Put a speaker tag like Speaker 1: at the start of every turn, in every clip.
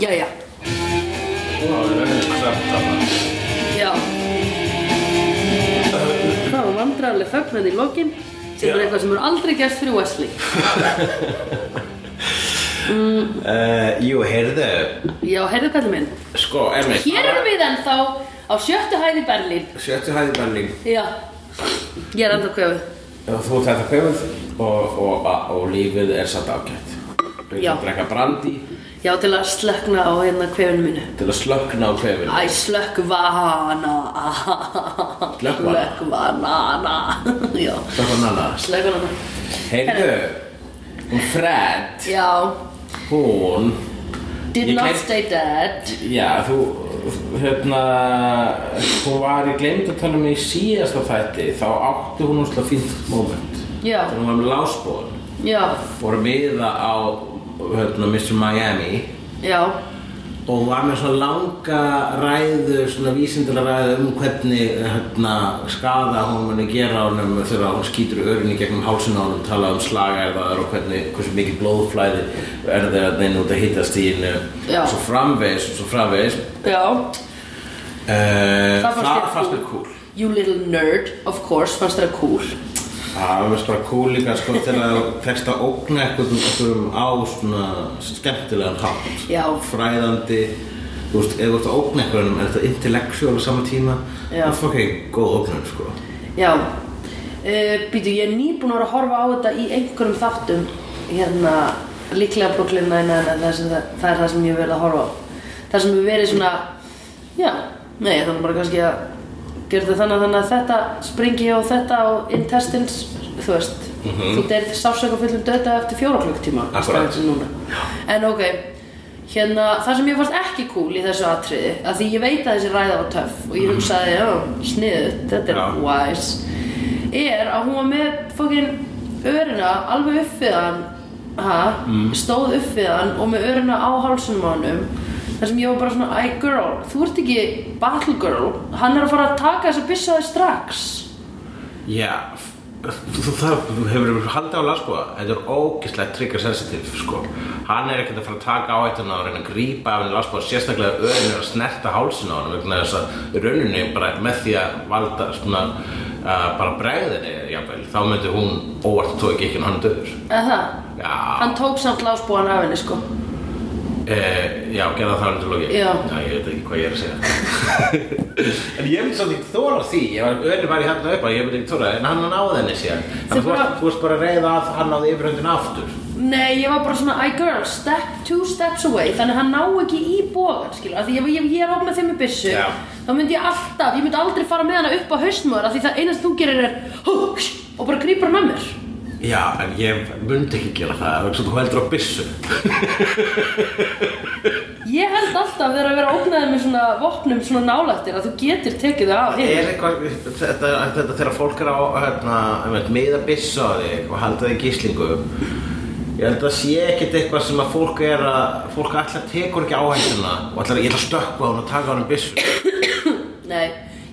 Speaker 1: Já, já,
Speaker 2: Það er reyndið svemt þarna.
Speaker 1: já. Það var vandræðarleg þögn hérna í lokin sem er
Speaker 2: Já.
Speaker 1: eitthvað sem er aldrei gæst fyrir Wesley.
Speaker 3: Uh, jú, heyrðu,
Speaker 1: Já, heyrðu kallið minn.
Speaker 3: sko, einmitt
Speaker 1: Hér erum við ennþá á sjöttu hæði Berlín.
Speaker 3: Sjöttu hæði benning
Speaker 1: Já, ég er ennþá kvefuð.
Speaker 3: Þú ert þetta kvefuð og, og, og lífið er satt ágætt Reyndu
Speaker 1: Já.
Speaker 3: að drekka brandi
Speaker 1: Já, til að slökna á hérna kvefinu mínu.
Speaker 3: til að slökna á kvefinu
Speaker 1: Æ, slökkvana.
Speaker 3: Slökkvana.
Speaker 1: Slökkvana. Já,
Speaker 3: Slökna annars
Speaker 1: slökkvana.
Speaker 3: Heyrðu, hún Fred,
Speaker 1: Já,
Speaker 3: hún
Speaker 1: did
Speaker 3: Ég
Speaker 1: not
Speaker 3: gleymt-
Speaker 1: stay dead.
Speaker 3: Já, þú, hérna, hún var í gleymd að tala um í síðasta þætti Þá átti hún úrslega fínt moment
Speaker 1: Já.
Speaker 3: Þegar hún var með lásbóðan
Speaker 1: Já,
Speaker 3: Fór að miða á, hérna, Mr. Miami
Speaker 1: já,
Speaker 3: og var með svona langa ræðu, svona vísindilega ræðu um hvernig hérna, skada hún muni gera honum þegar hún skýtur örinni gegnum hálsinn á honum, talað um slagærðar og hvernig, hversu mikið blóðflæði er þeirra þeir út að hittast í hennu
Speaker 1: Já.
Speaker 3: svo framvegis og svo framvegis uh,
Speaker 1: já.
Speaker 3: það
Speaker 1: fannst þér
Speaker 3: fannst
Speaker 1: cool.
Speaker 3: mér cool
Speaker 1: You little nerd, of course, fannst þér að cool.
Speaker 3: Það er bara cool líka sko til að tekst að ógna eitthvað um á svona skemmtilegan hátt
Speaker 1: Já.
Speaker 3: Fræðandi, þú veist, ef þú ert að ógna eitthvað um er þetta intellectual á sama tíma
Speaker 1: Já.
Speaker 3: Það er fucking góð ógnum sko
Speaker 1: Já, uh, býtu, ég er nýbúin að vera að horfa á þetta í einhverjum þáttum, hérna, líklega Brooklyn Nine-Nine, það, sem það, það er það sem ég hef verið að horfa á. Það sem hefur verið svona, já, nei, þannig bara kannski að gera þetta þannig, þannig að þetta springi og þetta og intestines, þú veist, þú deyrð sásöka fullum döta eftir fjóra klukktíma.
Speaker 3: Akkurat.
Speaker 1: Akkurat. núna en ok hérna, það sem ég fannst ekki cool í þessu atriði að því ég veit að þessi ræða var töff og ég hugsaði, já, sniðut, þetta er
Speaker 3: Já.
Speaker 1: wise er að hún var með fokkin örina alveg upp við hann ha, stóð upp við hann og með örina á hálsunum á hannum þar sem ég var bara svona, æ girl, þú ert ekki battle girl, hann er að fara að taka þessa byssu á þig strax
Speaker 3: Já, þú þarf, þú hefur verið haldið á landsbúa Þetta er ógeðslega trigger sensitive sko Hann er ekkert að fara að taka á eitthvað og reyna að grípa af henni landsbúa Sérstaklega öðin er að snerta hálsin á hann vegna þess að rauninni bara með því að valda svona uh, bara bregðinni jafnvel Þá myndi hún óvart tók ekki en hann er döður
Speaker 1: eða það,
Speaker 3: Já,
Speaker 1: hann tók samt lásbúan af henni sko
Speaker 3: e, já, gerða það undir loki
Speaker 1: Já.
Speaker 3: ég veit ekki hvað ég er að segja En ég myndi svolítið ekki þóra því Ég var öðru bara í hann hérna upp að ég myndi ekki þóra En hann náði henni síðan Þannig að þú
Speaker 1: bara-
Speaker 3: varst- þú varst bara að reyða að hann náði yfirhundin aftur
Speaker 1: Nei, ég var bara svona, I girl, step, two steps away Þannig að hann ná ekki í bógan, skilur Af því ef ég, ég er ofnað þeim með byssu
Speaker 3: Já.
Speaker 1: Þá myndi ég alltaf, ég myndi aldrei fara með hana upp á haustmöður Af því það eina sem þú gerir er hugsh, Og bara grípar hann að mér
Speaker 3: Já, en ég myndi ekki gera það Svo þú heldur á byssu
Speaker 1: Ég held alltaf þegar að vera ofnaðið með svona vopnum svona nálættir Að þú getur tekið það af
Speaker 3: Er
Speaker 1: hinn
Speaker 3: eitthvað, þetta, þetta þegar fólk er á hérna, einmitt, miða byssu á þig og halda þig í gíslingu Ég held að það sé ekkert eitthvað sem að fólk er að, fólk alltaf tekur ekki áhættuna og alltaf ég ætla að stökkva á hún og taka á hún um byssu.
Speaker 1: Nei,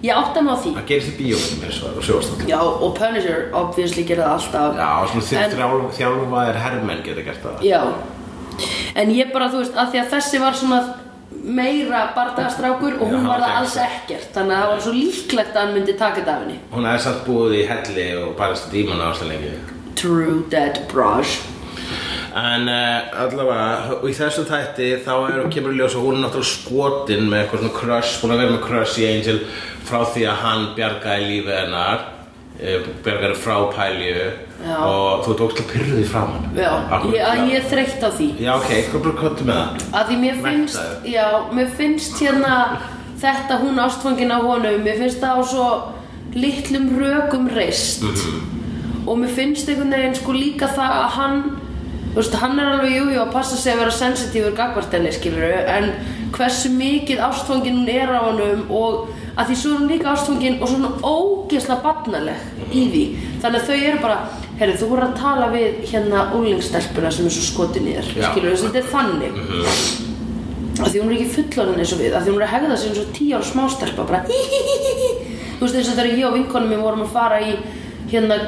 Speaker 1: ég átta mig á því
Speaker 3: Það gerist í bíómyndum eins og sjóðstall.
Speaker 1: Já, og Punisher, obviously, gerir það alltaf
Speaker 3: Já, svona
Speaker 1: En-
Speaker 3: þjálf, þjálfaðir herrmenn geta gert það.
Speaker 1: Já, en ég bara, þú veist, að því að þessi var svona meira bardagastrákur og hún
Speaker 3: Já,
Speaker 1: var það
Speaker 3: ok.
Speaker 1: alls ekkert þannig að það var svo líklegt að hann myndi taka þetta af henni
Speaker 3: Hún hefði satt búið í helli og barist dímana ástæðlegi.
Speaker 1: True Dead Brush
Speaker 3: En uh, allavega, og í þessum þætti þá er, kemur í ljós og hún er náttúrulega skotin með eitthvað svona crush, búin að vera með crush í Angel frá því að hann bjargaði lífið hennar, uh, bjargaði frá pælju
Speaker 1: Já.
Speaker 3: og þú ert ógstlega pyrruð í framann.
Speaker 1: Já,
Speaker 3: Akkurat,
Speaker 1: ég, að ég er þreytt á því
Speaker 3: Já, ok, hvað bara kottu með það?
Speaker 1: að því mér finnst,
Speaker 3: Menntaður.
Speaker 1: já, mér finnst hérna þetta hún ástfangin á honum mér finnst það á svo litlum rökum reist og mér finnst einhvern veginn sko líka það að hann þú veist, hann er alveg jújú jú, að passa sig að vera sensitífur gagvart henni skilur en hversu mikið ástfangin hún er á honum og að því svo er hún líka ástfangin og svona ógeðslega barnaleg í því þannig að þau eru bara, herri þú voru að tala við hérna úlingstelpuna sem er svo skotin í þér
Speaker 3: Já.
Speaker 1: skilur þetta er þannig að því hún er ekki fullorðin eins og við að því hún er að hegða sig eins og tíu ára smástelpa bara þú veist eins og þegar ég og vinkonum minn vorum að fara í hérna uh,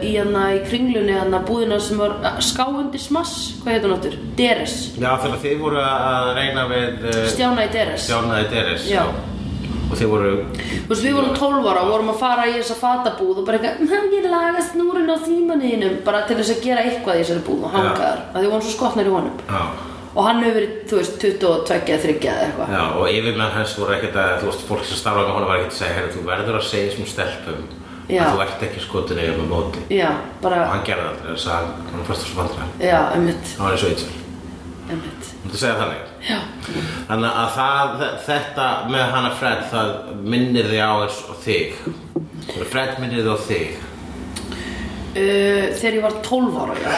Speaker 1: í hérna í kringlunni hérna búðina sem var skáundi smass, hvað heitum náttur? Deres,
Speaker 3: Já, þegar þið voru að reyna við eh,
Speaker 1: Stjána í Deres
Speaker 3: Stjánaði Deres
Speaker 1: Já.
Speaker 3: Og þið voru
Speaker 1: Þú veist, við vorum 12 ára og vorum að fara í þessa fatabúð og bara eitthvað, "Hm, ég laga snúrin á þýmaninum bara til þess að gera eitthvað í þessari búð og hanga
Speaker 3: Já.
Speaker 1: þar, að því vorum svo skotnar í honum
Speaker 3: Já,
Speaker 1: og hann hefur verið, þú veist, 22 eða 30 eða eitthvað
Speaker 3: já og yfirmenn hans voru ekkert að Þú veist, fólk sem starfaði með honum var ekkert að segja Herra, þú verður að segja þessum stelpum
Speaker 1: Já.
Speaker 3: Að þú ert ekki skotin eða með móti
Speaker 1: Já,
Speaker 3: Og
Speaker 1: bara,
Speaker 3: hann gerði aldrei þess að hann- hann fyrst þessu vandra
Speaker 1: já, einmitt,
Speaker 3: Hann var eins og eitt
Speaker 1: einmitt
Speaker 3: Þú ert að segja þannig
Speaker 1: Já,
Speaker 3: Þannig að það, þe- þetta með hana Fred Það minnir þig á þess og þig Fred minnir þig á þig
Speaker 1: uh, þegar ég var 12 ára já.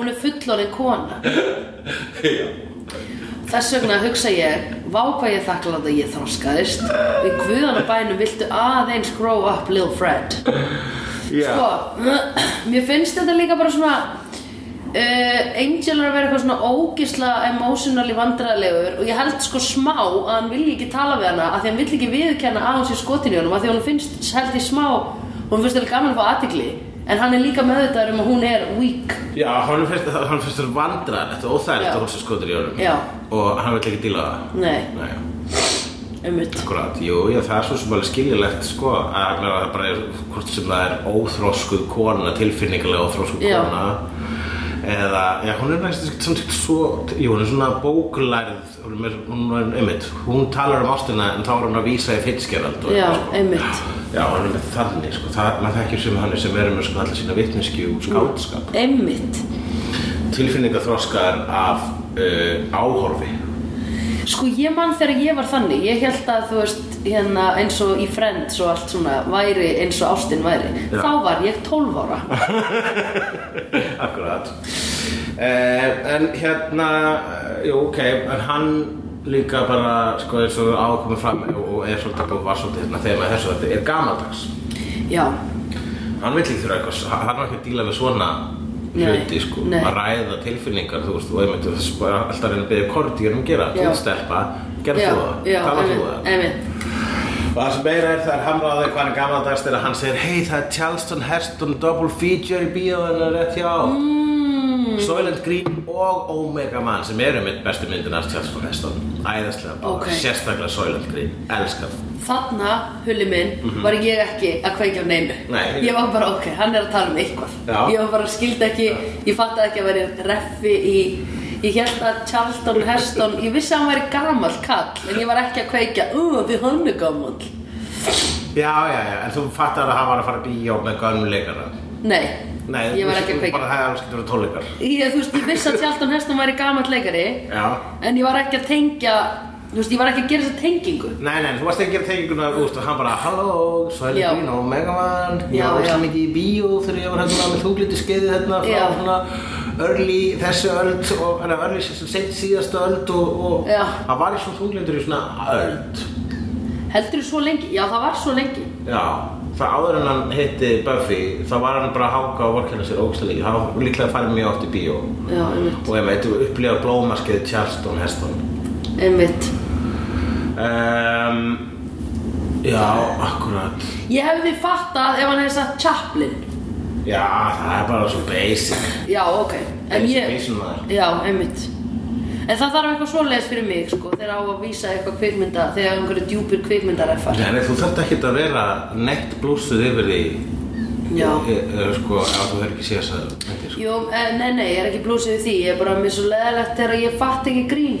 Speaker 1: Hún er fullorðin kona Þess vegna hugsa ég Vá hvað ég þakklátt að ég þroskaðist Við guðan á bænum viltu aðeins grow up Lil Fred Sko, mér finnst þetta líka bara svona uh, Angel er að vera eitthvað svona ógisla emotionally vandræðilegur og ég held sko smá að hann vilji ekki tala við hana af því hann vilji ekki viðurkenna að hún sé skotin í honum af því hann finnst held ég smá hún finnst þetta gaman að fá aðtikli en hann er líka meðvitaður um að hún er weak
Speaker 3: Já, hann finnst hann finnst þér vandræðilegt og óþægilegt
Speaker 1: Já.
Speaker 3: að hún sem skotur í honum
Speaker 1: Já.
Speaker 3: og hann vill ekki díla það
Speaker 1: Nei,
Speaker 3: Nei,
Speaker 1: umut
Speaker 3: akkurat, jú, já, það er svo sem alveg skiljulegt sko, að hann er að það bara er hvort sem það er óþróskuð kona tilfinningilega óþróskuð
Speaker 1: Já.
Speaker 3: kona eða, já, hún er næst ekki samtíkt svo, jú, hún er svona bóklærð hún er, hún er, einmitt, hún talar um ástina en þá er hún að vísa í fyrtskerald
Speaker 1: Já, einmitt
Speaker 3: sko. Já, hann er með þannig, sko, það, maður þekkir sem hann sem er með sko allir sína vitneski
Speaker 1: Mm.
Speaker 3: og skáldskap
Speaker 1: Einmitt
Speaker 3: tilfinningaþroskar af uh, áhorfi
Speaker 1: Sko ég man þegar ég var þannig, ég held að þú veist hérna eins og í Friends og allt svona væri eins og ástin væri
Speaker 3: Já.
Speaker 1: Þá var ég 12 ára
Speaker 3: Akkurat uh, En hérna, eh, jú ok, en hann líka bara, sko, er svo ákomið fram og og er svolítið og var svolítið hérna þegar maður þessu þetta er gamaldags
Speaker 1: Já,
Speaker 3: Hann vill ekki þurfa eitthvað, hann var ekki að díla við svona
Speaker 1: Nei,
Speaker 3: hluti, sko,
Speaker 1: nei.
Speaker 3: að ræða tilfinningar, þú veist, og einmitt, þessu bara alltaf að reyna að byrja korti um að gera, þú
Speaker 1: Já.
Speaker 3: ert stelpa, gerð
Speaker 1: já,
Speaker 3: þú það,
Speaker 1: já,
Speaker 3: tala þú
Speaker 1: einmitt,
Speaker 3: það.
Speaker 1: einmitt
Speaker 3: Og það sem meira er það er hamraðið hvað hann er gamaldags þegar hann segir Hei það er Charleston Heston double feature í bíóinu rétt hjá mm. Soylent Green og Omega Man sem eru mitt bestu myndin af Charleston Heston Æðislega bara,
Speaker 1: Ok.
Speaker 3: sérstaklega Soylent Green, elskar
Speaker 1: Þarna, hulli minn, var ég ekki að kveikja á neinu
Speaker 3: Mhm. Nei.
Speaker 1: Ég var bara, ok, hann er að tala um eitthvað
Speaker 3: Já.
Speaker 1: Ég var bara, skildi ekki, ég fattaði ekki að vera reffi í Ég held að Charlton Heston, ég vissi að hann væri gamall kall En ég var ekki að kveikja, uh, því hann er gamall
Speaker 3: Já, já, já, en þú fattar að hann var að fara í bíó með gönnum leikara
Speaker 1: Nei,
Speaker 3: Nei,
Speaker 1: ég var ekki að kveikja
Speaker 3: Bara það er alls getur að tóleikar
Speaker 1: Ég, þú veist, ég vissi að Charlton Heston væri gamall leikari
Speaker 3: Já
Speaker 1: En ég var ekki að tengja, þú veist, ég var ekki að gera þessa tengingu
Speaker 3: Nei, nei, þú varst ekki að gera tenginguna, þú veist, og hann bara Halló, Soylent
Speaker 1: Já.
Speaker 3: Green og Omega Man Ég
Speaker 1: Já,
Speaker 3: var
Speaker 1: já.
Speaker 3: óslega mikið í bíó þegar ég var hérna með þúgliti skeiði hérna frá
Speaker 1: Já.
Speaker 3: svona early þessu öld og hérna early sem sent síðasta öld og, og
Speaker 1: Já.
Speaker 3: hann var í svona þúglitur í svona öld
Speaker 1: Heldur svo lengi? Já, það var svo lengi
Speaker 3: Já, það áður en hann hitti Buffy þá var hann bara að háka og vorkenna sér ógstlega líka hann var líklega að fara mjög oft í bíó
Speaker 1: Já, einmitt
Speaker 3: og ég veit, þú upplifa blómaskeið Charleston Heston
Speaker 1: Einmitt.
Speaker 3: um, Já, akkurat
Speaker 1: Ég hefði fattað ef hann hefði sagt Chaplin.
Speaker 3: Já, það er bara svo basic
Speaker 1: Já, ok. En
Speaker 3: Basic
Speaker 1: ég...
Speaker 3: basic maður.
Speaker 1: Já, einmitt. En það þarf eitthvað svoleiðis fyrir mig, sko, þegar á að vísa eitthvað kvikmynda, þegar einhverju djúpir kvikmyndareffar.
Speaker 3: Nei, nei, þú þarft ekki að vera neitt blúsuð yfir því
Speaker 1: Já.
Speaker 3: e, e, Sko, ef þú hefur ekki séð þess að myndir sko.
Speaker 1: Jú, eh, nei, nei, ég er ekki blúsið við því, ég er bara mér svo leðilegt þegar ég fatt ekki grín.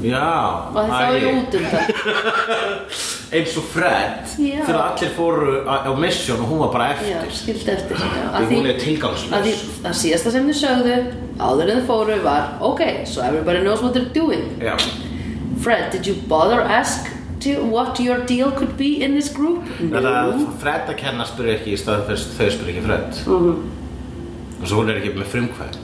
Speaker 3: Já
Speaker 1: Og því þá
Speaker 3: æi.
Speaker 1: er ég út um það.
Speaker 3: Eins og Fred
Speaker 1: Já.
Speaker 3: Þegar allir fóru á, á mission og hún var bara
Speaker 1: Já,
Speaker 3: eftir
Speaker 1: skildi eftir. Já,
Speaker 3: Því hún er tilgangslaus.
Speaker 1: að Því það síðasta sem þið sögðu, áður en þið fóru, var, ok, so everybody knows what they're doing.
Speaker 3: Já,
Speaker 1: Fred, did you bother ask to what your deal could be in this group?
Speaker 3: þetta að Fred að kenna spyrir ekki í stað þess þau spyrir ekki Fred mm
Speaker 1: Mhm.
Speaker 3: -hmm. Og svo hún er ekki með frumkvæð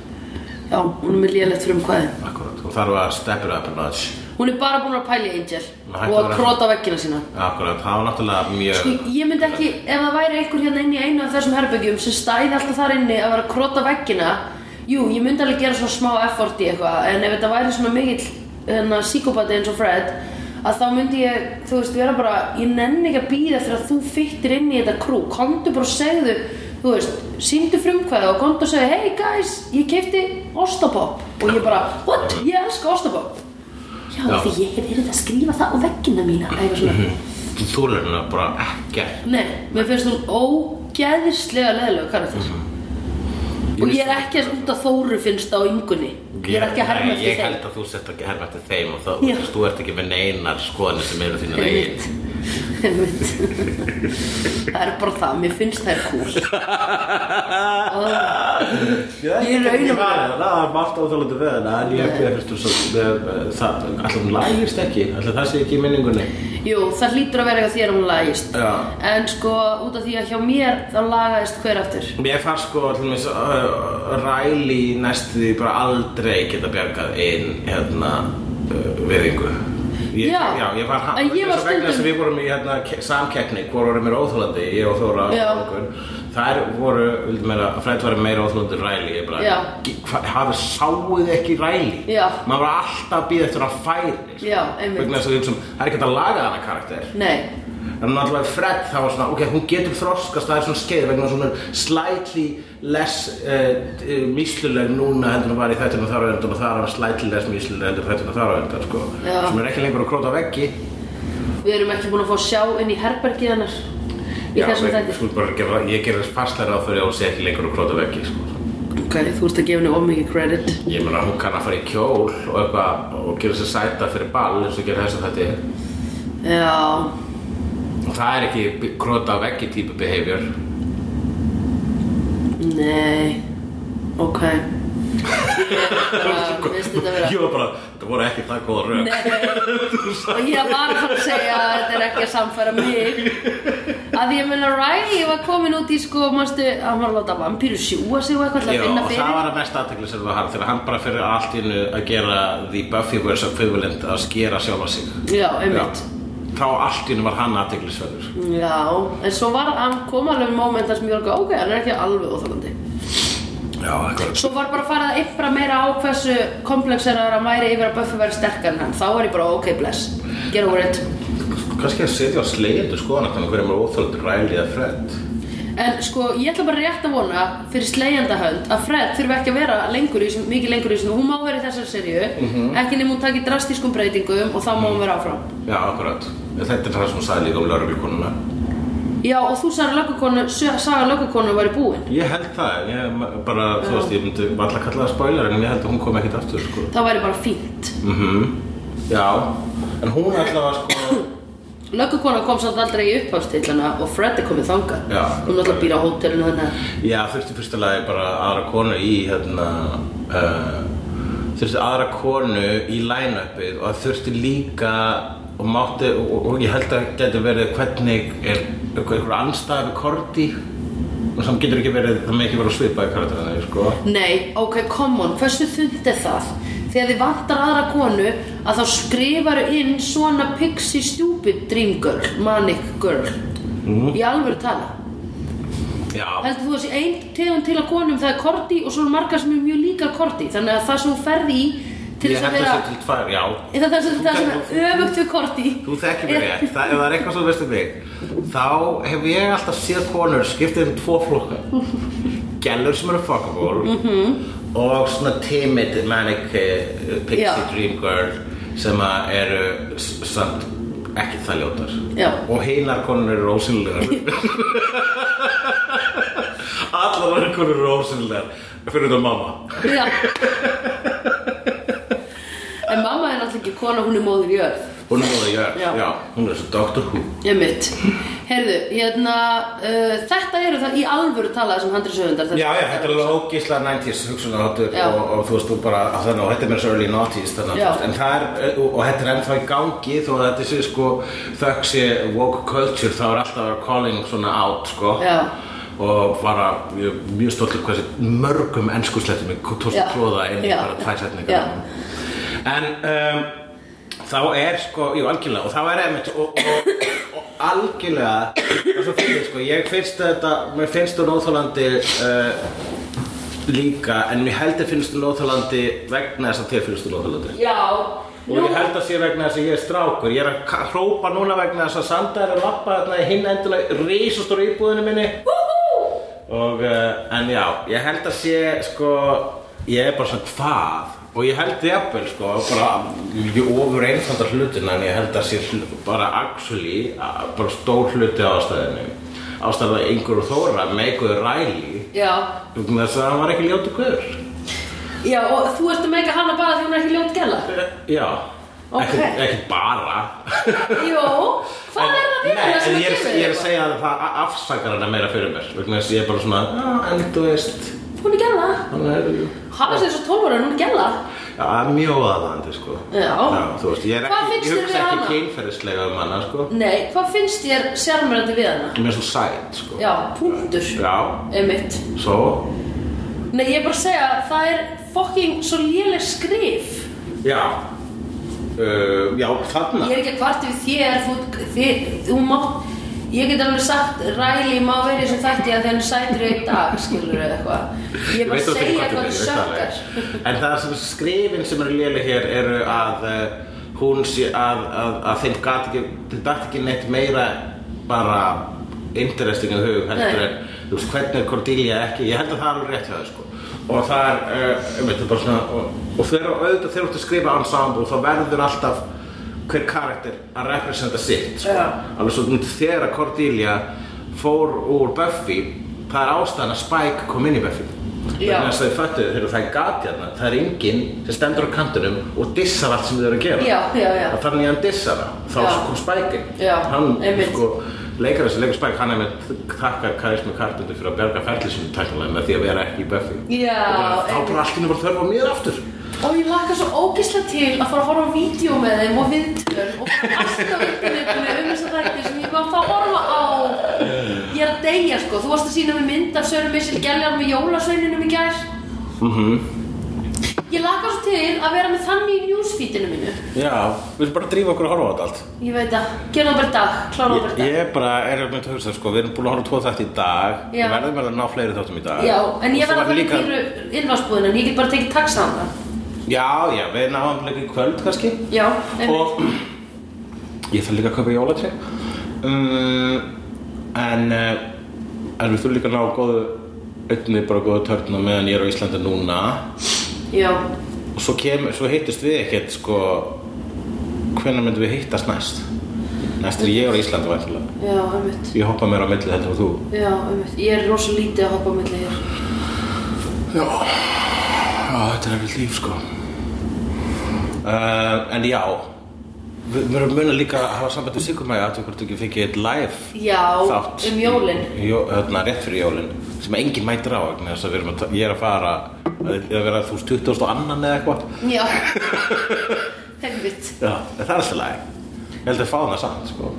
Speaker 1: Já, hún er með lélegt fyrir um hvaði.
Speaker 3: Akkurat, hún þarf að step it up a notch
Speaker 1: Hún er bara búin að pæla í Angel
Speaker 3: Nei, hættu
Speaker 1: og
Speaker 3: að
Speaker 1: að
Speaker 3: vera-
Speaker 1: króta á veggina sína.
Speaker 3: Akkurat, það var náttúrulega mjög
Speaker 1: Sko, Ég ég myndi ekki, ef það væri einhver hérna inni í einu af þessum herbyggjum sem stæði alltaf þar inni að vera að króta á veggina, jú, ég myndi alveg gera svona smá effort í eitthvað, en ef þetta væri svona mikill hérna, psíkopati eins og Fred, að þá myndi ég, þú veist, vera bara ég nenni ekki að býða þegar þú fyttir inn í þetta krú, komdu bara og segðu þú veist, síndu frumkvæða og komdu og segðu hey guys, ég kefti Ostapopp og ég bara, what? Ég elska Ostapopp Já,
Speaker 3: Já.
Speaker 1: því ég hef verið að skrifa það á veggina mína eitthvað svona
Speaker 3: Þú þúlir hana bara ekkert.
Speaker 1: Nei, mér finnst hún ógeðislega leðilega karakter og ég er ekki að út að Þóru finnst það á yngunni ég er ekki að herma
Speaker 3: Nei,
Speaker 1: eftir
Speaker 3: Mhm. Ég
Speaker 1: þeim
Speaker 3: held að þú sett ekki að herma eftir þeim og þá,
Speaker 1: Já.
Speaker 3: þú veist, þú ert ekki með neinar skoðanir sem eru þínar eigin.
Speaker 1: Einmitt. það er bara það, mér finnst það er cool
Speaker 3: Ah.
Speaker 1: Ég er raunum-
Speaker 3: Það er margt óþálandi við hana, en ég ég finnst þú svo, eh, það, alltaf hún lægist ekki, alltaf það sé ekki í minningunni.
Speaker 1: Jú, það hlýtur að vera hjá þér að hún lagist
Speaker 3: Já.
Speaker 1: En sko, út af því að hjá mér þá lagaðist hver aftur
Speaker 3: Mér fannst sko til dæmis uh, ræli næstu því bara aldrei geta bjargað inn hérna uh, viðingu. Ég,
Speaker 1: Já.
Speaker 3: já, ég var hann.
Speaker 1: En ég var
Speaker 3: Vegna þess
Speaker 1: stundum-
Speaker 3: að við vorum í hérna, ke- samkeppni, hvor voru mér óþólandi, ég og Þóra
Speaker 1: Já.
Speaker 3: og okkur. Þær voru, vildi meira, Fred var meira óþólandi ræli. Ég bara,
Speaker 1: Já.
Speaker 3: "Ge- hva- hafið sáuð ekki ræli.
Speaker 1: Já.
Speaker 3: Maður var alltaf að býða eftir að færi. sko.
Speaker 1: Já, einmitt.
Speaker 3: Vegna þess að við hugsaum, það er ekki hægt að laga hana karakter.
Speaker 1: Nei,
Speaker 3: En náttúrulega Fred þá var svona, ok, hún getur þroskast, það er svona skeið vegna svona slightly less uh, mísluleg núna heldur hún var í þættinu þar á endan og þar var slightly less mísluleg heldur þættinu þar á endan, sko.
Speaker 1: Já.
Speaker 3: Sem er ekki lengur að króta á veggi.
Speaker 1: við erum ekki búin að fá að sjá inn í herbergið hennar Í þessum
Speaker 3: við-
Speaker 1: þætti
Speaker 3: Þú ert bara að gera, ég gerir þess fastlega á þau að hún sé ekki lengur að króta á veggi, sko.
Speaker 1: Ok, þú ert að gefa henni of mikið credit
Speaker 3: Ég meina, hún kann að fara í kjól og eitthvað og gera sér sæta fyrir ball eins og gera þess að þetta
Speaker 1: Já,
Speaker 3: Og það er ekki króta á veggi típu behavior.
Speaker 1: nei Ok Ég veist þetta vera
Speaker 3: Ég var bara, þetta voru ekki það góða rauk.
Speaker 1: og ég var að fara að segja að þetta er ekki að samfæra mig að ég meina Riley var komin út í sko manstu, hann var að láta vampíru sjúa sig og eitthvað til
Speaker 3: Já,
Speaker 1: að finna
Speaker 3: og
Speaker 1: fyrir
Speaker 3: það var að mest aðtekli sem var hann þegar hann bara fyrir allt í hennu að gera The Buffyverse equivalent að skera sjálfa sig
Speaker 1: já, einmitt
Speaker 3: Þá allt í hennu var hann aðteklisverður
Speaker 1: já. en svo var hann kom alveg moment þar sem ég var ekki, ok, hann er ekki alveg óþálandi
Speaker 3: Já, akkurat
Speaker 1: svo var bara farið að yfra meira á hversu komplexeraður hann væri yfir að Buffy væri sterkar en hann þá var ég bara, ok, bless get over it
Speaker 3: Kannski að setja á slegjendu skoðan þannig hverjum er óþöldur ræli eða fredd
Speaker 1: En sko, ég ætla bara rétt að vona fyrir slegjandahönd að Fred þurfi ekki að vera lengur í, þessum- mikið lengur í þessum, hún má vera í þessar serju, ekki nema hún taki drastískum breytingum og þá má hún vera áfram.
Speaker 3: Já, akkurat Þetta er það sem hún sagði líka um lauruglukonuna
Speaker 1: Já, og þú sagði löggukonu, saga löggukonu væri búin.
Speaker 3: Ég held það, ég bara, þú veist, ég myndi varla kalla það spoiler en ég held að hún kom ekkert aftur, sko Mhm.
Speaker 1: Það væri bara fínt.
Speaker 3: Já, en hún allavega, sko
Speaker 1: Löggukona kom samt aldrei í upphafstillana og Fred er komið þangað.
Speaker 3: Já.
Speaker 1: Hún er alltaf að býra á hótelinu þannig að...
Speaker 3: Já, þurfti fyrsta lagi bara aðra konu í hérna uh, þurfti aðra konu í line-upið og þurfti líka og mátti, og, og ég held að geti verið hvernig er einhver anstæða við Korti og samt getur ekki verið, það með ekki verið að svipa í karakterinu, sko
Speaker 1: Nei, ok, come on, hversu þund er það? Þegar þið vantar aðra konu að þá skrifaru inn svona pixie stupid dream girl, manic girl
Speaker 3: Mhm.
Speaker 1: Í alvöru tala
Speaker 3: Já,
Speaker 1: Heldur þú að sé ein tegund til að konum það er Korti og svona margar sem er mjög líkar Korti Þannig að það sem hún ferði í til
Speaker 3: ég
Speaker 1: þess að
Speaker 3: held að
Speaker 1: vera
Speaker 3: það til tvær, já
Speaker 1: Eða það sem, það sem er öfugt við Korti
Speaker 3: Þú þekkir mig rétt, það, ef það er eitthvað sem þú veist um mig Þá hef ég alltaf séð konur skiptið um tvo flokka Gellur sem eru fuckable Og svona timid manic uh, pixie
Speaker 1: Já.
Speaker 3: dream girl Sem að eru s- samt ekki það ljótar
Speaker 1: Já.
Speaker 3: Og hinar konur eru ósynlegar Allar aðrar konur eru ósynlegar Fyrir þetta mamma
Speaker 1: Já En mamma er alltaf ekki kona, hún er móður í örð
Speaker 3: Hún er móða jörg,
Speaker 1: Já.
Speaker 3: já, hún er svo Dr. Who
Speaker 1: Einmitt. Heyrðu, hérna, uh, þetta eru það í alvöru talað sem handriðsöfundar.
Speaker 3: Já, já, þetta er alveg ógísla 90s hugsunarháttur
Speaker 1: Já.
Speaker 3: og, og þú veist, þú bara, að þannig, og þetta er mér svo early 90s
Speaker 1: Já.
Speaker 3: þannig, að þú veist, en það er, eh, og, og þetta er ennþá í gangi þó að þetta sé, sko, þökk sé woke culture, þá er alltaf að vera calling svona out, sko
Speaker 1: Já.
Speaker 3: og bara, ég er mjög stoltur hversu mörgum ennskurslettum ég tókst
Speaker 1: Já.
Speaker 3: að tróða inn í
Speaker 1: Já.
Speaker 3: bara tvær
Speaker 1: Já.
Speaker 3: setningar en um, þá er sko, jú algjörlega og þá er einmitt og, og, og algjörlega og svo fyrir sko, ég finnst þetta mér finnst þú nóþólandi uh, líka, en mér heldur finnst þú nóþólandi vegna þess að þér finnst þú nóþólandi
Speaker 1: Já,
Speaker 3: Og ég held að sé vegna þess að ég er strákur, ég er að ka- hrópa núna vegna þess að Sanda er að lappa þarna í hinn endilega risastóru íbúðinu minni og, uh, en já, ég held að sé, sko, ég er bara svona hvað og ég held jafnvel, sko, bara, ég vil ekki ofur einfaldar hlutina en ég held að sé hl- bara actually, að- bara stór hluti á ástæðinu ástæðan að yngur og þóra með einhverju ræli
Speaker 1: Já,
Speaker 3: vegna þess að hann var ekki ljótu guður
Speaker 1: já og þú ert að meika hana bara því hún er ekki ljót gæla
Speaker 3: já,
Speaker 1: Ok.
Speaker 3: ekki, ekki bara
Speaker 1: Jó, hvað er það við
Speaker 3: Nei,
Speaker 1: sem
Speaker 3: en
Speaker 1: að
Speaker 3: ég er,
Speaker 1: gefa
Speaker 3: ég er að
Speaker 1: eitthvað?
Speaker 3: segja að það a- afsakar hana meira fyrir mér vegna þess að ég er bara svona, "Ah, en þú veist
Speaker 1: Hún er gæla
Speaker 3: hann er
Speaker 1: Hafið sér svo 12 ára, hún er gæla
Speaker 3: Já, það er mjög aðaðandi, sko.
Speaker 1: Já.
Speaker 3: þú veist, ég er
Speaker 1: Hvað
Speaker 3: ekki,
Speaker 1: finnst
Speaker 3: ég
Speaker 1: þér
Speaker 3: hugsa
Speaker 1: við
Speaker 3: ekki
Speaker 1: hana?
Speaker 3: kynferðislega um hana, sko.
Speaker 1: Nei, hvað finnst þér sérmjörandi við hana?
Speaker 3: Ég er mér svo sætt, sko.
Speaker 1: Já, punktur
Speaker 3: Já,
Speaker 1: Einmitt
Speaker 3: svo,
Speaker 1: Nei, ég er bara að segja, það er fucking svo léleg skrif
Speaker 3: já. Uh, já, þarna.
Speaker 1: Ég er ekki að kvarti við þér, þú, þér, þú mátt Ég get alveg sagt, Ræli má vera í þessum þætti að því hann er sætur í einn dag, skilur eða eitthvað Ég er bara að
Speaker 3: veit
Speaker 1: segja hvað
Speaker 3: þú fyrir
Speaker 1: þú
Speaker 3: ég veit það
Speaker 1: sökkar
Speaker 3: alveg. En það sem skrifin sem eru léleg hér eru að uh, hún sé að, að, að þeim gat ekki, þeim dætt ekki neitt meira bara interesting að hug heldur
Speaker 1: Nei.
Speaker 3: en þú veist hvernig er Cordelia ekki, ég held að það er alveg rétt hjá þau sko og það er, uh, veit, bara svona og, og þegar auðvitað þegar þú ert að skrifa ensemble þá verður alltaf hver karakter að representa sitt sko.
Speaker 1: Já.
Speaker 3: alveg svo þú veist, þegar Cordelia fór úr Buffy það er ástæðan að Spike kom inn í Buffy
Speaker 1: Já.
Speaker 3: vegna þess að þau fættu þegar það er gati hérna það er enginn sem stendur á kantinum og dissar allt sem þau eru að gera
Speaker 1: Já, já, já.
Speaker 3: og þannig að hann dissar það þá
Speaker 1: Já.
Speaker 3: svo kom Spike inn.
Speaker 1: Já,
Speaker 3: hann
Speaker 1: einmitt.
Speaker 3: sko leikar þessi leikur Spike hann er með takkar Karismi Carpenter fyrir að bjarga ferli sinni tæknilega með því að vera ekki í Buffy
Speaker 1: Já,
Speaker 3: og þá
Speaker 1: einmitt.
Speaker 3: bara allt inni var þörf á mér aftur
Speaker 1: Og ég laka svo ógislega til að fara að horfa á vídeo með þeim og viðtöl og alltaf internetinu um þessa þætti sem ég var að fá að horfa á Ég er að deyja sko, þú varst að sína mig mynd af Söru Missel Gelljar með jólasveininum í gær Mhm Ég laka svo til að vera með þannig í newsfeedinu mínu
Speaker 3: já, við erum bara að drífa okkur að horfa á þetta allt
Speaker 1: Ég veit að, gera það bara í dag, klára það bara í dag
Speaker 3: Ég er bara, er með þetta hugsað, sko, við erum búin að horfa á tvo þætti í dag,
Speaker 1: Já.
Speaker 3: við verðum vel að ná fleiri þáttum í dag.
Speaker 1: Já, en
Speaker 3: Og
Speaker 1: ég
Speaker 3: svo
Speaker 1: verð að fara í
Speaker 3: líka-
Speaker 1: píru innvarsbúðin en ég get bara tekið taxa á það
Speaker 3: Já, já, við náum líka í kvöld kannski.
Speaker 1: Já, einmitt
Speaker 3: Og ég þarf líka að kaupa jólatri. Um, en, eh, en við þurfum líka að ná góðu, einnig bara góðu törnum meðan ég er á Íslandi núna.
Speaker 1: Já,
Speaker 3: Og svo, kem, svo hittist við ekkert, sko, hvenær myndum við hittast næst? Næst er ég á Íslandi væntulega.
Speaker 1: já, einmitt
Speaker 3: Ég hoppa mér á milli heldur og þú.
Speaker 1: Já, einmitt, ég er rosa lítið að hoppa á milli hér
Speaker 3: Já, þetta er erfitt líf sko uh, En já Við við erum munið líka að hafa samband við Sigurmæði að hvort ekki fengið eitt live
Speaker 1: Já,
Speaker 3: þátt
Speaker 1: um jólin.
Speaker 3: í- Jó, hérna, rétt fyrir jólin sem enginn mætir á vegna þess að við erum að, ta- ég er að fara að að vera þú veist 20 og annan eða eitthvað
Speaker 1: Já Helvitt
Speaker 3: Já, en það er alltaf lagi Ég held að fá það samt sko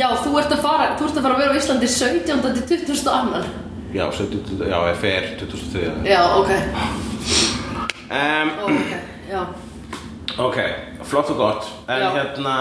Speaker 1: Já, þú ert að fara, þú ert að fara að vera á Íslandi 17. til 20. annan
Speaker 3: Já, svo, já ég fer 2003
Speaker 1: Já, ok,
Speaker 3: um,
Speaker 1: ó, ok, já
Speaker 3: Ok, flott og gott En
Speaker 1: Já.
Speaker 3: hérna,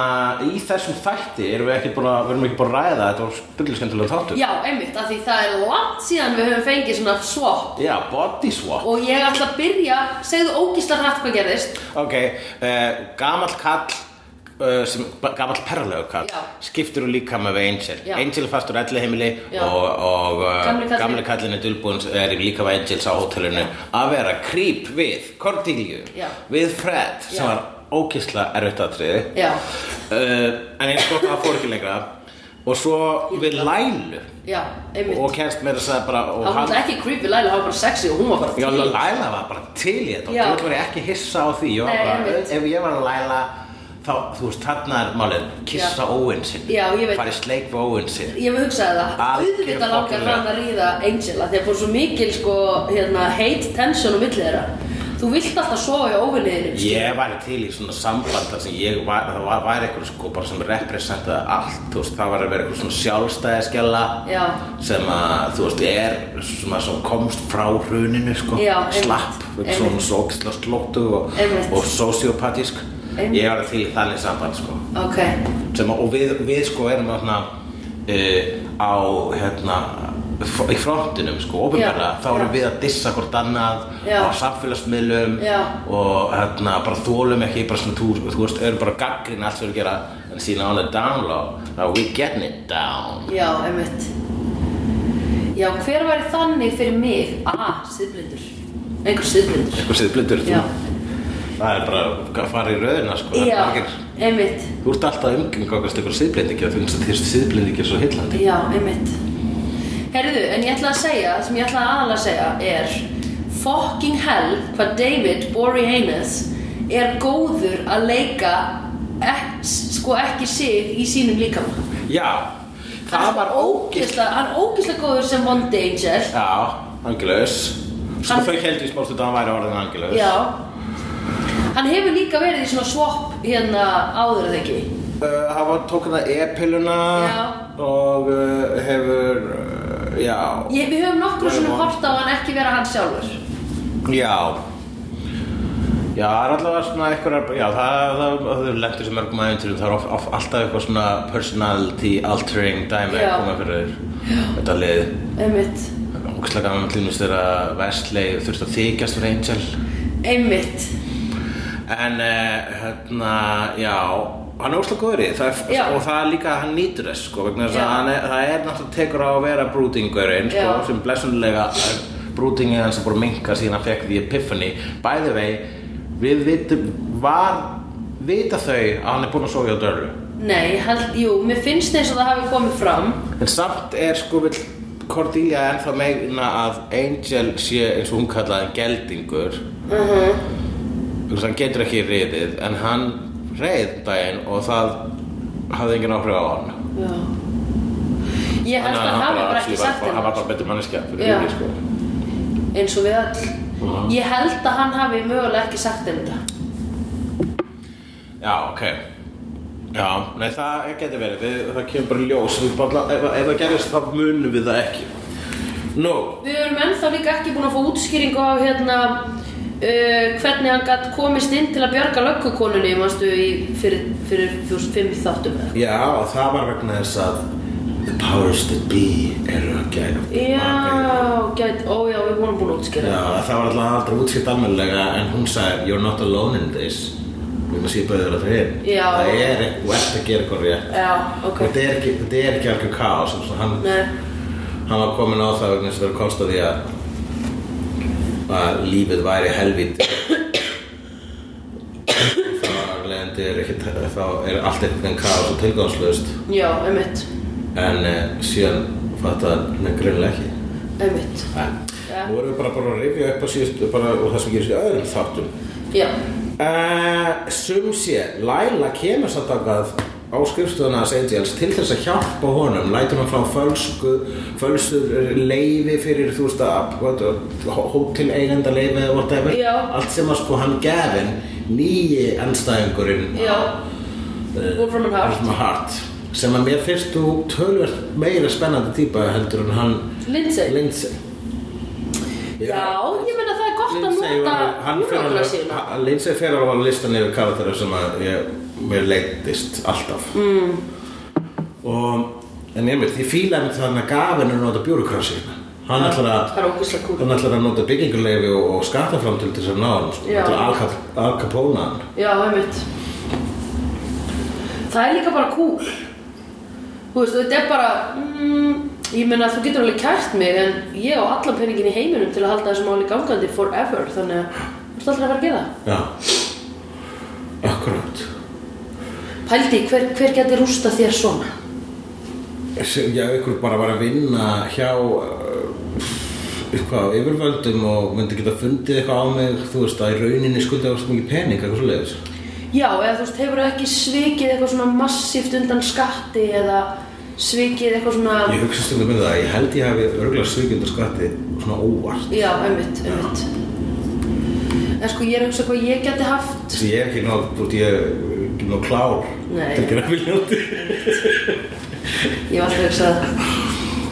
Speaker 3: í þessum þætti erum við ekki búin að, við erum ekki búin að ræða þetta var byggiliskendilega þáttur
Speaker 1: Já, einmitt, af því það er langt síðan við höfum fengið svona swap
Speaker 3: Já, body swap
Speaker 1: Og ég ætla að byrja, segðu ógísla hrætt hvað gerðist
Speaker 3: Ok, uh, gamall kall uh, sem, ba- gamall perralegu kall
Speaker 1: Já.
Speaker 3: skiptir úr líka með Angel
Speaker 1: Já.
Speaker 3: Angel er fastur elli heimili
Speaker 1: Já.
Speaker 3: og, og uh,
Speaker 1: Gamli kallinn.
Speaker 3: gamli kallin er dulbúin er í líka með Angels á hótelinu að vera creep við Cordelia
Speaker 1: Já.
Speaker 3: við Fred sem
Speaker 1: Já.
Speaker 3: var ókysla erfitt aðtriði
Speaker 1: Já,
Speaker 3: uh, en eins gott að það fór ekki lengra og svo við Lælu
Speaker 1: já, einmitt
Speaker 3: og kennst meira að segja bara og
Speaker 1: Það var náttúrulega ekki creepy Laila, það var bara sexy og hún var bara
Speaker 3: Já,
Speaker 1: til.
Speaker 3: Laila var bara til í þetta og
Speaker 1: Já.
Speaker 3: þú var ég ekki hissa á því Ég var
Speaker 1: Nei,
Speaker 3: bara,
Speaker 1: einmitt.
Speaker 3: Ef ég var að Laila þá, þú veist, þarna er málið kissa óvinn sinn
Speaker 1: Já, ég veit.
Speaker 3: Farið sleik við óvinn sinn
Speaker 1: Ég hef hugsaði það,
Speaker 3: Algjör
Speaker 1: auðvitað langar
Speaker 3: fucking
Speaker 1: hann að ríða Angel af því að fór svo mikil sko, hérna, hate tension á milli þeirra Þú vilt alltaf sofa sko. í óvinniðinu
Speaker 3: Ég væri til í svona samband þar sem ég var, það var, var eitthvað sko bara sem representaði allt, þú veist, það var að vera eitthvað svona sjálfstæðiskella
Speaker 1: Já.
Speaker 3: sem að, þú veist, er svona sem komst frá hruninu, sko,
Speaker 1: Já, einmitt,
Speaker 3: slapp, einmitt. svona
Speaker 1: einmitt.
Speaker 3: svo ógislega slóttu og,
Speaker 1: Einmitt.
Speaker 3: og sociopatísk.
Speaker 1: Einmitt.
Speaker 3: Ég var til í þannig samband, sko.
Speaker 1: Ok,
Speaker 3: sem, að- og við, við sko erum þarna uh, á eh, hérna f- í frontinum sko, ofinbæra,
Speaker 1: Já,
Speaker 3: þá erum
Speaker 1: já.
Speaker 3: við að dissa hvort annað
Speaker 1: Já.
Speaker 3: á samfélagsmiðlum
Speaker 1: Já.
Speaker 3: og hérna bara þólum ekki bara svona, þú, þú veist, erum bara gaggrin allt sem við erum að gera en síðan on the down low, now we getting it down
Speaker 1: Já, einmitt Já, hver væri þannig fyrir mig? Ah, siðblindur Einhver siðblindur
Speaker 3: eitthvað séð blindur, þú,
Speaker 1: Já,
Speaker 3: það er bara að fara í röðina sko, það er
Speaker 1: já
Speaker 3: margir-
Speaker 1: einmitt
Speaker 3: Þú ert alltaf umgangast ykkur síðblendingi og þú finnst að þér síðblendingi er svo hillandi.
Speaker 1: Já, einmitt Herðu, en ég ætla að segja, það sem ég ætla aðalega að segja er Fucking hell hvað David Bory Haynes er góður að leika ek, sko ekki sig í sínum líkama
Speaker 3: Já, það var ógilt.
Speaker 1: ógeðslega- Hann er ógeðslega góður sem Bond Angel
Speaker 3: Já, angilöðs. Sko
Speaker 1: Hann-
Speaker 3: þau heldur í smálstund að hann væri orðin angilöðs.
Speaker 1: Já Hann hefur líka verið í svona swap hérna áður eða ekki
Speaker 3: Uh, hann var, tók hann að e-pilluna
Speaker 1: Já.
Speaker 3: og uh, hefur, uh, já,
Speaker 1: Ég, Við höfum nokkru
Speaker 3: Nei,
Speaker 1: svona
Speaker 3: von.
Speaker 1: hort á hann ekki vera hann sjálfur
Speaker 3: já. Já, það er allavega svona eitthvað, já, það, það, það, það lendur sem mörgum aðeinturum, það er of, of, alltaf eitthvað svona personality altering dæmi
Speaker 1: Já.
Speaker 3: að koma fyrir þetta liðið.
Speaker 1: Einmitt
Speaker 3: Ógæslega gaman til þess þegar Vestley þurfti að þykjast fyrir Angel
Speaker 1: Einmitt
Speaker 3: En uh, hérna, já, hann er ógæslega góður í því. það
Speaker 1: Já.
Speaker 3: er, og það er líka að hann nýtur þess sko vegna þess
Speaker 1: Já.
Speaker 3: að hann er, það er náttúrulega tekur á að vera brútingurinn sko
Speaker 1: Já.
Speaker 3: sem blessunlega brútingið hans er búin að minka síðan hann fekk því Epiphany Bæði vei, við vitum, var, vita þau að hann er búinn að sofa hjá Dörru
Speaker 1: Nei, held, jú, mér finnst eins og það hafi komið fram
Speaker 3: En samt er sko vill Cordelia ennþá meina að Angel sé eins og hún kallaði hann geldingur uh
Speaker 1: Mhm.
Speaker 3: -huh. hann getur ekki reyðið en hann reyð um daginn og það hafði engin áhrif á hann
Speaker 1: Já Ég held að hann hafi bara ekki sagt
Speaker 3: henni Hann var
Speaker 1: hennar
Speaker 3: bara betur manneskja fyrir
Speaker 1: Já.
Speaker 3: því sko
Speaker 1: eins og við öll Ég held að hann hafi mögulega ekki sagt hennar þetta
Speaker 3: Já, ok Já, nei það getur verið við, það kemur bara í ljós Við bara, ef, ef það gerist þá munum við það ekki Nú,
Speaker 1: Við erum ennþá líka ekki búin að fá útskýringu á hérna uh, hvernig hann gætt komist inn til að bjarga löggukonunni manstu, í, fyrir, fyrir fjóst fimm þáttum eða
Speaker 3: Já, það var vegna þess að The powers that be eru að gæða
Speaker 1: Já, gæt, ó já, við vorum búin að útskýra
Speaker 3: Já, það var alltaf aldrei útsýtt almennilega en hún sagði, you're not alone in this Við maður síðan bauður að það er
Speaker 1: Já.
Speaker 3: Það er, þú ert að gera eitthvað rétt
Speaker 1: Já, ok
Speaker 3: Þetta er ekki, þetta er ekki algjör kaos eins og hann,
Speaker 1: Nei,
Speaker 3: hann var kominn á það vegna þess að það er komst að því að að lífið væri helvít þá er leiðandi er ekki, þá er allt eitthvað kaos og tilgangslöst
Speaker 1: já, einmitt
Speaker 3: en eh, síðan fatta hann greinlega ekki
Speaker 1: Einmitt
Speaker 3: en,
Speaker 1: Ja.
Speaker 3: nú erum við bara bara að rifja upp að síðust bara, og það sem gerist í öðrum þáttum
Speaker 1: Já,
Speaker 3: uh, sum sé Laila kemur samt þangað á skrifstofuna að Angels til þess að hjálpa honum lætur hann frá fölsku fölsur leifi fyrir þú veist að uh, hótel eigenda leifi eða whatever
Speaker 1: Já.
Speaker 3: allt sem að sko hann gefin nýji anstæðingurinn
Speaker 1: Já.
Speaker 3: Eh,
Speaker 1: Wolfram and Hart.
Speaker 3: Wolfram and Hart sem að mér finnst þú tölvert meira spennandi típa heldur en hann
Speaker 1: Lindsay.
Speaker 3: Lindsay
Speaker 1: já, ég meina það er gott að
Speaker 3: Lindsay
Speaker 1: nota
Speaker 3: var- hann fer
Speaker 1: úrnákla
Speaker 3: alveg-
Speaker 1: sína
Speaker 3: hann- Lindsay fer alveg á listan yfir karakterar sem að ég, mér leittist alltaf mm. og en ég mér, því fílaði þannig að gafin er að nota bjúrukrasi hann ætlar að
Speaker 1: Það er ógeðslega kúl.
Speaker 3: hann ætlar að nota bygginguleifi og, og skattaframtölu til þess að ná hann sko,
Speaker 1: Já.
Speaker 3: til að Al Cap- Al Capone hann
Speaker 1: Já, einmitt Það er líka bara cool Þú veist, þetta er bara mm, Ég meina, þú getur alveg kært mig En ég á allan peningin í heiminum Til að halda þessu máli gangandi forever Þannig að þú ert alltaf að vera að gera það.
Speaker 3: já akkurát
Speaker 1: Pældi, hver, hver getur rústa þér svona?
Speaker 3: sem já, ykkur bara var að vinna hjá uh, eitthvað yfirvöldum og myndi geta fundið eitthvað á mig þú veist að í rauninni skulda á svo mikið pening eitthvað svo leiðis
Speaker 1: Já, eða þú veist, hefur ekki svikið eitthvað svona massíft undan skatti Eða svikið eitthvað svona
Speaker 3: ég hugsa stundum með það, ég held ég hafi örgulega svigjönda skatti svona óvart
Speaker 1: Já, einmitt, einmitt En sko, ég er að hugsa hvað ég geti haft
Speaker 3: þess að ég er ekki nóg, þú veist ég er ekki nóg klár
Speaker 1: Nei.
Speaker 3: til að gera viljandi
Speaker 1: Ég var alltaf að hugsa það.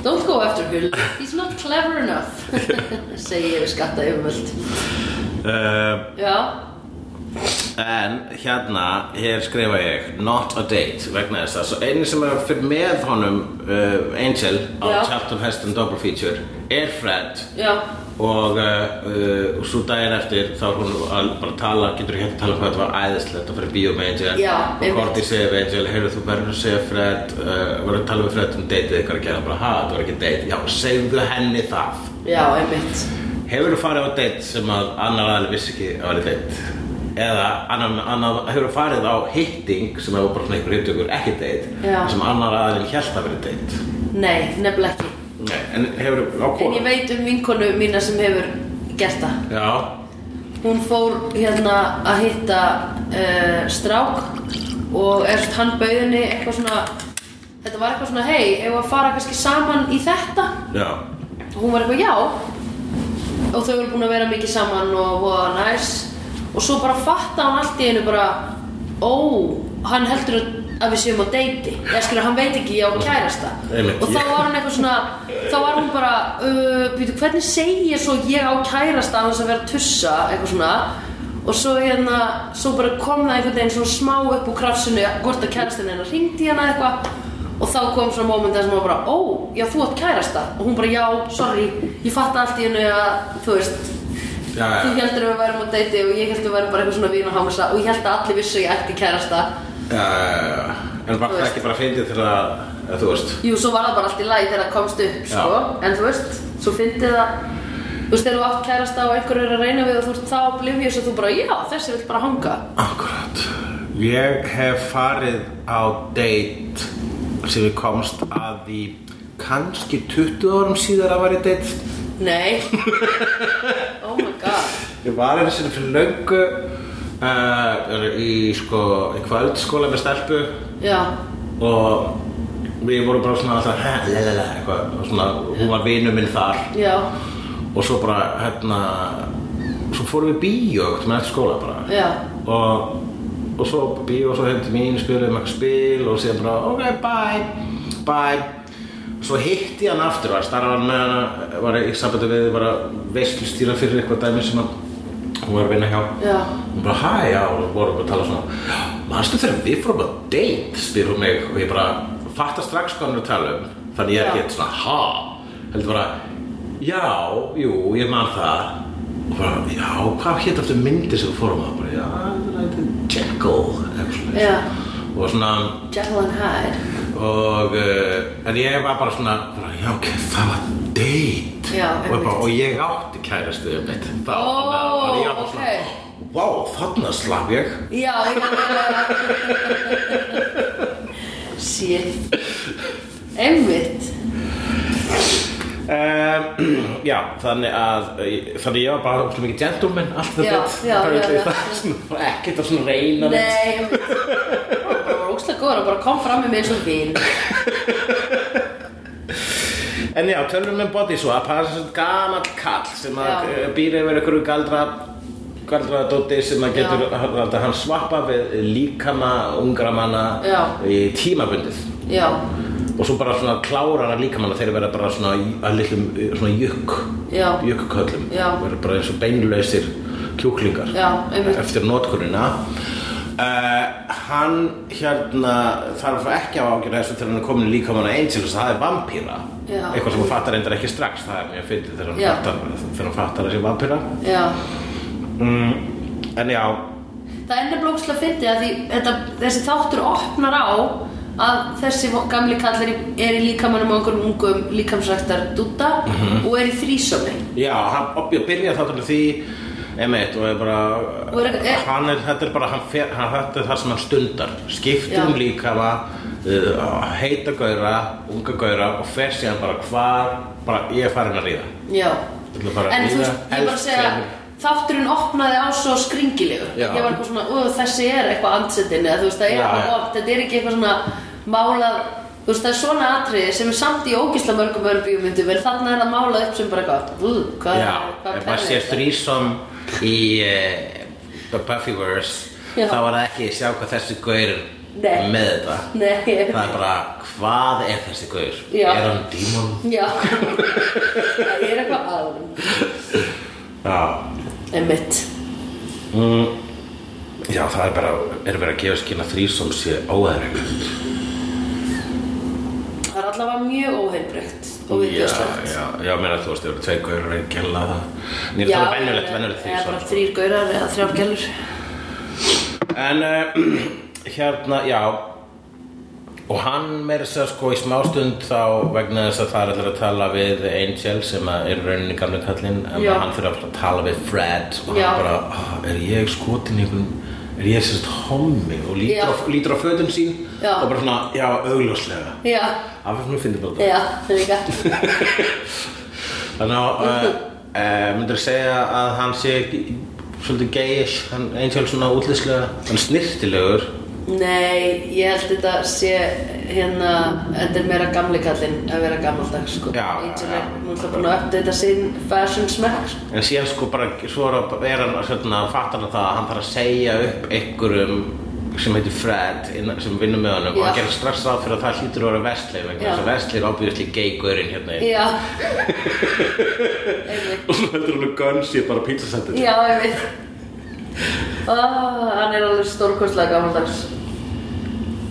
Speaker 1: Don't go after Hull, he's not clever enough segi ég við skatta yfirvöld
Speaker 3: uh,
Speaker 1: Já,
Speaker 3: Eh, En hérna, hér skrifa ég Not a date, vegna þess að Svo eini sem er fyrir með honum uh, Angel
Speaker 1: Já.
Speaker 3: á Charlton Heston Double Feature er Fred
Speaker 1: Já,
Speaker 3: og uh, uh, svo daginn eftir þá er hún að bara tala getur ekki hægt að tala um hvað þetta var æðislegt að fara í bíó með Angel
Speaker 1: Já,
Speaker 3: og
Speaker 1: einmitt.
Speaker 3: Korti segir við Angel heyrðu þú verður að segja Fred uh, verður að tala við Fred um dateið ykkar að gera bara ha þetta var ekki date já segðu henni það
Speaker 1: já, einmitt
Speaker 3: hefur þú farið á date sem að annar aðal vissi ekki að var date eða annar, annar, hefur þú farið á hitting sem hefur bara svona einhver hittingur ekki date
Speaker 1: Já.
Speaker 3: sem annar aðalinn hjælt að vera date
Speaker 1: Nei, nefnilega ekki
Speaker 3: Nei, en hefur á
Speaker 1: En ég
Speaker 3: konu
Speaker 1: veit um vinkonu mína sem hefur gert það
Speaker 3: já
Speaker 1: Hún fór hérna að hitta uh, strák og eftir hann bauð henni eitthvað svona Þetta var eitthvað svona, hei, ef að fara kannski saman í þetta
Speaker 3: já
Speaker 1: og hún var eitthvað já og þau voru búin að vera mikið saman og voða næs og svo bara fatta hann allt í einu bara ó, hann heldur að við séum á deiti eða skilur, hann veit ekki ég á kærasta
Speaker 3: Einmitt,
Speaker 1: og þá
Speaker 3: ég-
Speaker 1: var hann eitthvað svona þá var hún bara, uh, býtu, hvernig segi ég svo ég á kærasta að þess að vera að tussa eitthvað svona og svo hérna, svo bara kom það einhvern veginn svona smá upp úr krafsinu hvort að kærastin hennar ringdi hana eitthvað Og þá kom svona moment þar sem hún var bara, ó, já, þú átt kærasta. Og hún bara, já, sorry, ég fatt allt í hennu að, þú veist,
Speaker 3: Já, já.
Speaker 1: þú heldur að við værum á deiti og ég heldur að við værum bara eitthvað svona vín og hamsa og ég held að allir vissu að ég ætti kærasta.
Speaker 3: Já, já, já. En var
Speaker 1: Þú
Speaker 3: Eh, það
Speaker 1: veist.
Speaker 3: ekki bara fyndið þegar að, að þú veist
Speaker 1: Jú, svo var það bara allt í lagi þegar það komst upp,
Speaker 3: Já.
Speaker 1: sko. En þú veist, svo fyndið það, þú veist, þegar þú átt kærasta og einhver er að reyna við og þú ert þá oblivious og þú bara, já, þessi vill bara hanga.
Speaker 3: Akkurat Ég hef farið á date sem ég komst að í kannski 20 árum síðar að var í date
Speaker 1: Nei. oh my god.
Speaker 3: Ég var einu sinni fyrir löngu uh, í sko í kvöldskóla með stelpu
Speaker 1: Já,
Speaker 3: og við vorum bara svona alltaf "Ha, la, la, la," eitthvað, og svona, hún var vinur minn þar
Speaker 1: já,
Speaker 3: og svo bara hérna svo fórum við í bíó eitthvað með eftir skóla bara
Speaker 1: já,
Speaker 3: og, og svo upp á bíó og svo heim til mín spilum eitthvað spil og síðan bara ok, bye, bye svo hitti ég hann aftur var starfaðan með hana var í sambandi við bara veislustýra fyrir eitthvað dæmi sem að hún var að vinna hjá
Speaker 1: Já.
Speaker 3: hún bara hæ, já, og vorum bara að tala svona manstu þegar við fórum að date spyr hún mig og ég bara fatta strax hvað hann er að tala um þannig ég er
Speaker 1: Já.
Speaker 3: ekki svona ha heldur bara, já, jú, ég man það og bara, já, hvað hétt aftur myndi sem við fórum að bara, já, það er Jekyll eitthvað svoleiðis.
Speaker 1: Já.
Speaker 3: og svona
Speaker 1: Jekyll and Hyde.
Speaker 3: og uh, en ég var bara svona bara, já ok, það var date
Speaker 1: Já,
Speaker 3: og, ég bara,
Speaker 1: einmitt.
Speaker 3: og ég átti kærastu um mitt þá
Speaker 1: Ó,
Speaker 3: og ég var bara
Speaker 1: ókei.
Speaker 3: svona vá, þarna slapp ég
Speaker 1: Já, ég man það Shit Einmitt
Speaker 3: um, já, þannig að eh, þannig ég var bara svona mikið gentleman allt
Speaker 1: Já, já, já, já.
Speaker 3: já. ekkert að svona reyna neitt.
Speaker 1: Nei, einmitt Það var ógstlega góður að bara kom fram með mig eins og vin
Speaker 3: En já, tölum við body swap, það er svona gamall kall sem að
Speaker 1: Já.
Speaker 3: eh, býr yfir einhverju galdra galdra dóti sem að getur að hann svappa við líkama ungra manna
Speaker 1: Já.
Speaker 3: í tímabundið
Speaker 1: Já,
Speaker 3: og svo bara svona klárar hann líkamanna þeir verða bara svona í- að litlum eh, svona jökk
Speaker 1: Já.
Speaker 3: jökköllum
Speaker 1: Já.
Speaker 3: verða bara eins og beinlausir kjúklingar
Speaker 1: Já, einmitt.
Speaker 3: eftir notkunina Uh, hann hérna þarf ekki að ágjöra þessu til hann er komin í líkamann að Angel og það er vampíra
Speaker 1: Já.
Speaker 3: eitthvað sem hann fattar reyndar ekki strax það er mjög fyndið þegar hann
Speaker 1: Já.
Speaker 3: fattar þegar hann fattar þessi vampíra
Speaker 1: já
Speaker 3: mm, en já,
Speaker 1: Það er nefnilega ógstlega fyndið að því þetta, þessi þáttur opnar á að þessi gamli kall er í, er í líkamannum á einhverjum ungum líkamsræktar dúta
Speaker 3: Mhm.
Speaker 1: og er í þrísömi
Speaker 3: já, hann oppi að byrja þáttur með því emitt og er bara
Speaker 1: Og er- er-
Speaker 3: hann er, þetta er bara hann fer, hann, þetta er það sem hann stundar
Speaker 1: Já.
Speaker 3: skiptum líkama uh, heita gauðra, unga gauðra og fer síðan bara hvar bara, ég er farin að ríða
Speaker 1: Já
Speaker 3: Ég ætla bara að
Speaker 1: En þú
Speaker 3: ríða,
Speaker 1: veist, ég bara
Speaker 3: helst
Speaker 1: segja
Speaker 3: fremur.
Speaker 1: Þátturinn opnaði á svo skringilegu
Speaker 3: Já.
Speaker 1: Ég var eitthvað svona, "Ú, þessi er eitthvað andsetin Eða þú veist, það er
Speaker 3: Já,
Speaker 1: eitthvað
Speaker 3: já.
Speaker 1: oft Þetta er ekki eitthvað svona málað Þú veist, það er svona atriði sem er samt í ógísla mörgum öðrum bíómyndum En þarna er það málað upp sem bara eitthvað "Ú, Hvað,
Speaker 3: Já,
Speaker 1: hvað
Speaker 3: ef maður sér þrísom í uh, Buffyverse
Speaker 1: Já.
Speaker 3: þá var það ekki sjá hvað þessi gaur er
Speaker 1: Nei.
Speaker 3: með þetta
Speaker 1: Nei,
Speaker 3: Það er bara, hvað er þessi gaur?
Speaker 1: Já.
Speaker 3: Er hann dímon?
Speaker 1: já Það er eitthvað aðrum
Speaker 3: Já
Speaker 1: Einmitt
Speaker 3: mm. Já, það er bara, er verið að gefa skina þrísom sé óæðrið.
Speaker 1: Það er allavega mjög óheilbreykt og
Speaker 3: Já,
Speaker 1: viðbjörnslegt.
Speaker 3: já, já, meina þú veist, það eru tvei gaurar að gæla það. Nýr
Speaker 1: Já,
Speaker 3: það er venjulegt, venjulegt
Speaker 1: eða bara
Speaker 3: þrísom.
Speaker 1: þrír gaurar eða þrjár gælur.
Speaker 3: En uh, hérna, já Og hann meira sér sko í smástund þá vegna þess að það er allir að tala við Angel sem að er í rauninni gamli kallinn en
Speaker 1: Já.
Speaker 3: hann fyrir að tala við Fred og
Speaker 1: Já.
Speaker 3: hann bara, "Ah, er ég skotin í einhvern er ég sérst hommi og lítur,
Speaker 1: Já.
Speaker 3: á, lítur á fötun sín
Speaker 1: Já.
Speaker 3: og bara svona, já, augljóslega
Speaker 1: Já,
Speaker 3: af hvernig finnir bara það
Speaker 1: já, líka.
Speaker 3: Þannig að uh,
Speaker 1: Mhm.
Speaker 3: uh, myndir segja að hann sé ekki- svolítið gayish, hann Angel svona útlýslega hann snirtilegur
Speaker 1: Nei, ég held þetta sé hérna, þetta er meira gamli kallinn að vera gammaldags sko.
Speaker 3: Já,
Speaker 1: Angel
Speaker 3: já.
Speaker 1: er múlta búin að uppdata sinn fashion smekk. sko.
Speaker 3: En síðan sko bara, svo er að- er hann svona, fattar hann það að hann þarf að segja upp einhverjum sem heitir Fred innan, sem vinnur með honum og hann
Speaker 1: Já.
Speaker 3: gerir strax ráð fyrir að það hlýtur að vera Vesli vegna
Speaker 1: Já.
Speaker 3: þess að Vesli er ábyggjast í geigurinn hérna
Speaker 1: Já. Einmitt.
Speaker 3: og svo heldur hann að Guns ég bara pizzasendur
Speaker 1: já, ég veit. Ah, hann er alveg stórkostlega gammaldags.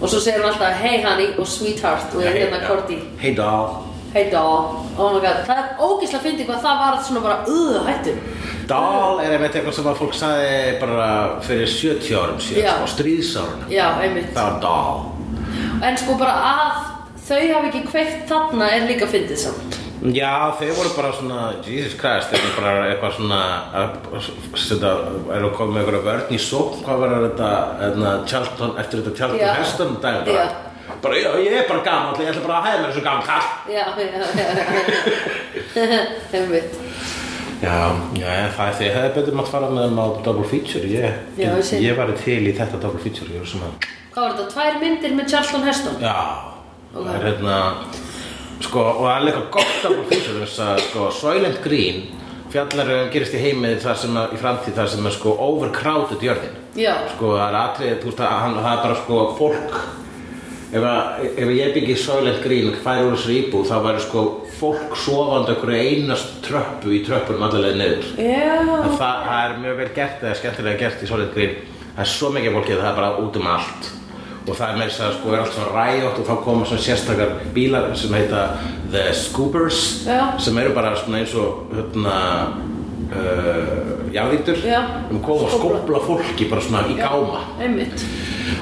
Speaker 1: Og svo segir hann alltaf, hey honey og sweetheart og ég er hérna Korti.
Speaker 3: Hey doll
Speaker 1: Hey doll, oh my god, það er ógeðslega fyndið hvað það var svona bara, uh, hættu.
Speaker 3: Doll er einmitt eitthvað sem að fólk sagði bara fyrir 70 árum
Speaker 1: Já.
Speaker 3: síðan, á stríðsárunum
Speaker 1: Já, einmitt.
Speaker 3: Það var doll
Speaker 1: En sko bara að þau hafi ekki kveikt þarna er líka fyndið samt.
Speaker 3: Já, þeir voru bara svona, Jesus Christ, þeir voru bara eitthvað svona, þetta, eru að koma með einhverja vörn í sókn, hvað var þetta, hérna, Charlton, eftir þetta Charlton
Speaker 1: Já.
Speaker 3: Heston dæmi bara. Bara, já, ég er bara gamall, ég ætla bara að hæða mér þessu gamall kall.
Speaker 1: Já, já, já, já. Einmitt.
Speaker 3: Já, já, það er því, hefði betur maður fara með þeim á double feature, ég,
Speaker 1: Já, ég sé.
Speaker 3: ég var til í þetta double feature, ég var svona,
Speaker 1: Hvað var þetta? Tvær myndir með Charlton Heston?
Speaker 3: já, það er hérna, sko, og það er líka gott double feature, þess að, sko, Soylent Green, fjallar um gerist í heimið þar sem að, í framtíð þar sem er sko overcrowded jörðin.
Speaker 1: Já.
Speaker 3: sko það er atrið, þú veist að hann, það er bara sko fólk ef, að, ef ég byggi Soylent Green og færi úr þessari íbúð þá væri sko fólk sofandi okkur einast tröppu í tröppunum allalega niður
Speaker 1: Já.
Speaker 3: en það, það er mjög vel gert eða skemmtilega gert í Soylent Green það er svo mikið fólkið það er bara út um allt og það er með þess að segja, sko er allt svona ræjótt og þá koma svona sérstakar bílar sem heita The Scoopers
Speaker 1: Já.
Speaker 3: sem eru bara svona eins og hérna uh, jarðýtur
Speaker 1: Já.
Speaker 3: um koma að
Speaker 1: Skófla.
Speaker 3: skópla fólki bara svona í gáma
Speaker 1: Einmitt.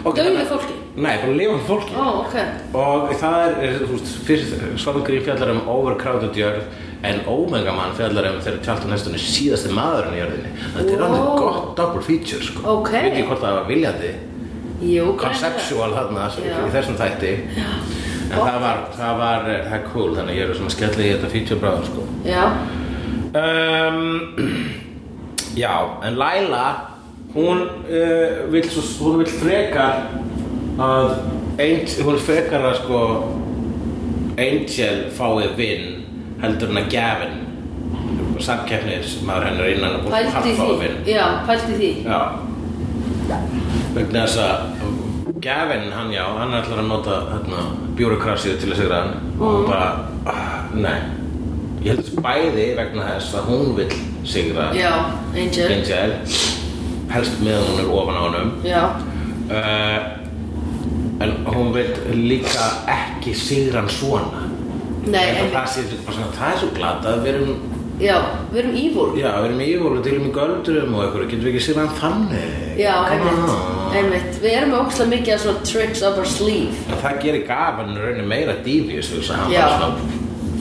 Speaker 3: Ok,
Speaker 1: Dauðu
Speaker 3: þannig-
Speaker 1: fólki?
Speaker 3: Nei, bara lifandi fólki
Speaker 1: Ó, ok.
Speaker 3: Og það er, er þú veist, fyrst Svangrið fjallar um overcrowded jörð En Omega Man fjallar um þegar Charlton Heston er síðasti maðurinn í jörðinni Þetta er
Speaker 1: Wow.
Speaker 3: alveg gott double feature, sko
Speaker 1: Ok.
Speaker 3: Ég veit ekki hvort það var viljandi
Speaker 1: Jú,
Speaker 3: Conceptual þarna, sem-
Speaker 1: Já.
Speaker 3: í þessum þætti Já. En það var, það var, eh, það er cool Þannig að ég er svona skellið í þetta feature bráðum, sko
Speaker 1: Já.
Speaker 3: um, Já, en Laila hún uh, vill svo, hún vill frekar að Angel, hún vill frekar að sko Angel fái vinn heldur en að Gavin samkeppnismæður hennar innan og
Speaker 1: Pælti
Speaker 3: hann fái
Speaker 1: því.
Speaker 3: vinn
Speaker 1: Já, pælti því.
Speaker 3: Já vegna þess að Gavin, hann já, hann ætlar að nota hérna, bjúrokrasið til að sigra hann
Speaker 1: Mm.
Speaker 3: og bara, ah, nei ég held þessu bæði vegna þess að hún vill sigra
Speaker 1: Já, Angel.
Speaker 3: Angel helst meðan hún er ofan á honum
Speaker 1: Já.
Speaker 3: uh, en hún vill líka ekki sigra hann svona
Speaker 1: Nei,
Speaker 3: Ég held að
Speaker 1: einmitt.
Speaker 3: það, sé, bara svona, það er svo glata að við erum
Speaker 1: Já, við erum ívúr.
Speaker 3: já, við erum ívoru til um í göldurum og eitthvað, getum við ekki sigra hann þannig
Speaker 1: Já,
Speaker 3: Come
Speaker 1: einmitt.
Speaker 3: on.
Speaker 1: Einmitt. Við erum með ógeðslega mikið af svona tricks up our sleeve.
Speaker 3: En það gerir gafan raunin meira dífjus þess að hann
Speaker 1: Já.
Speaker 3: bara svona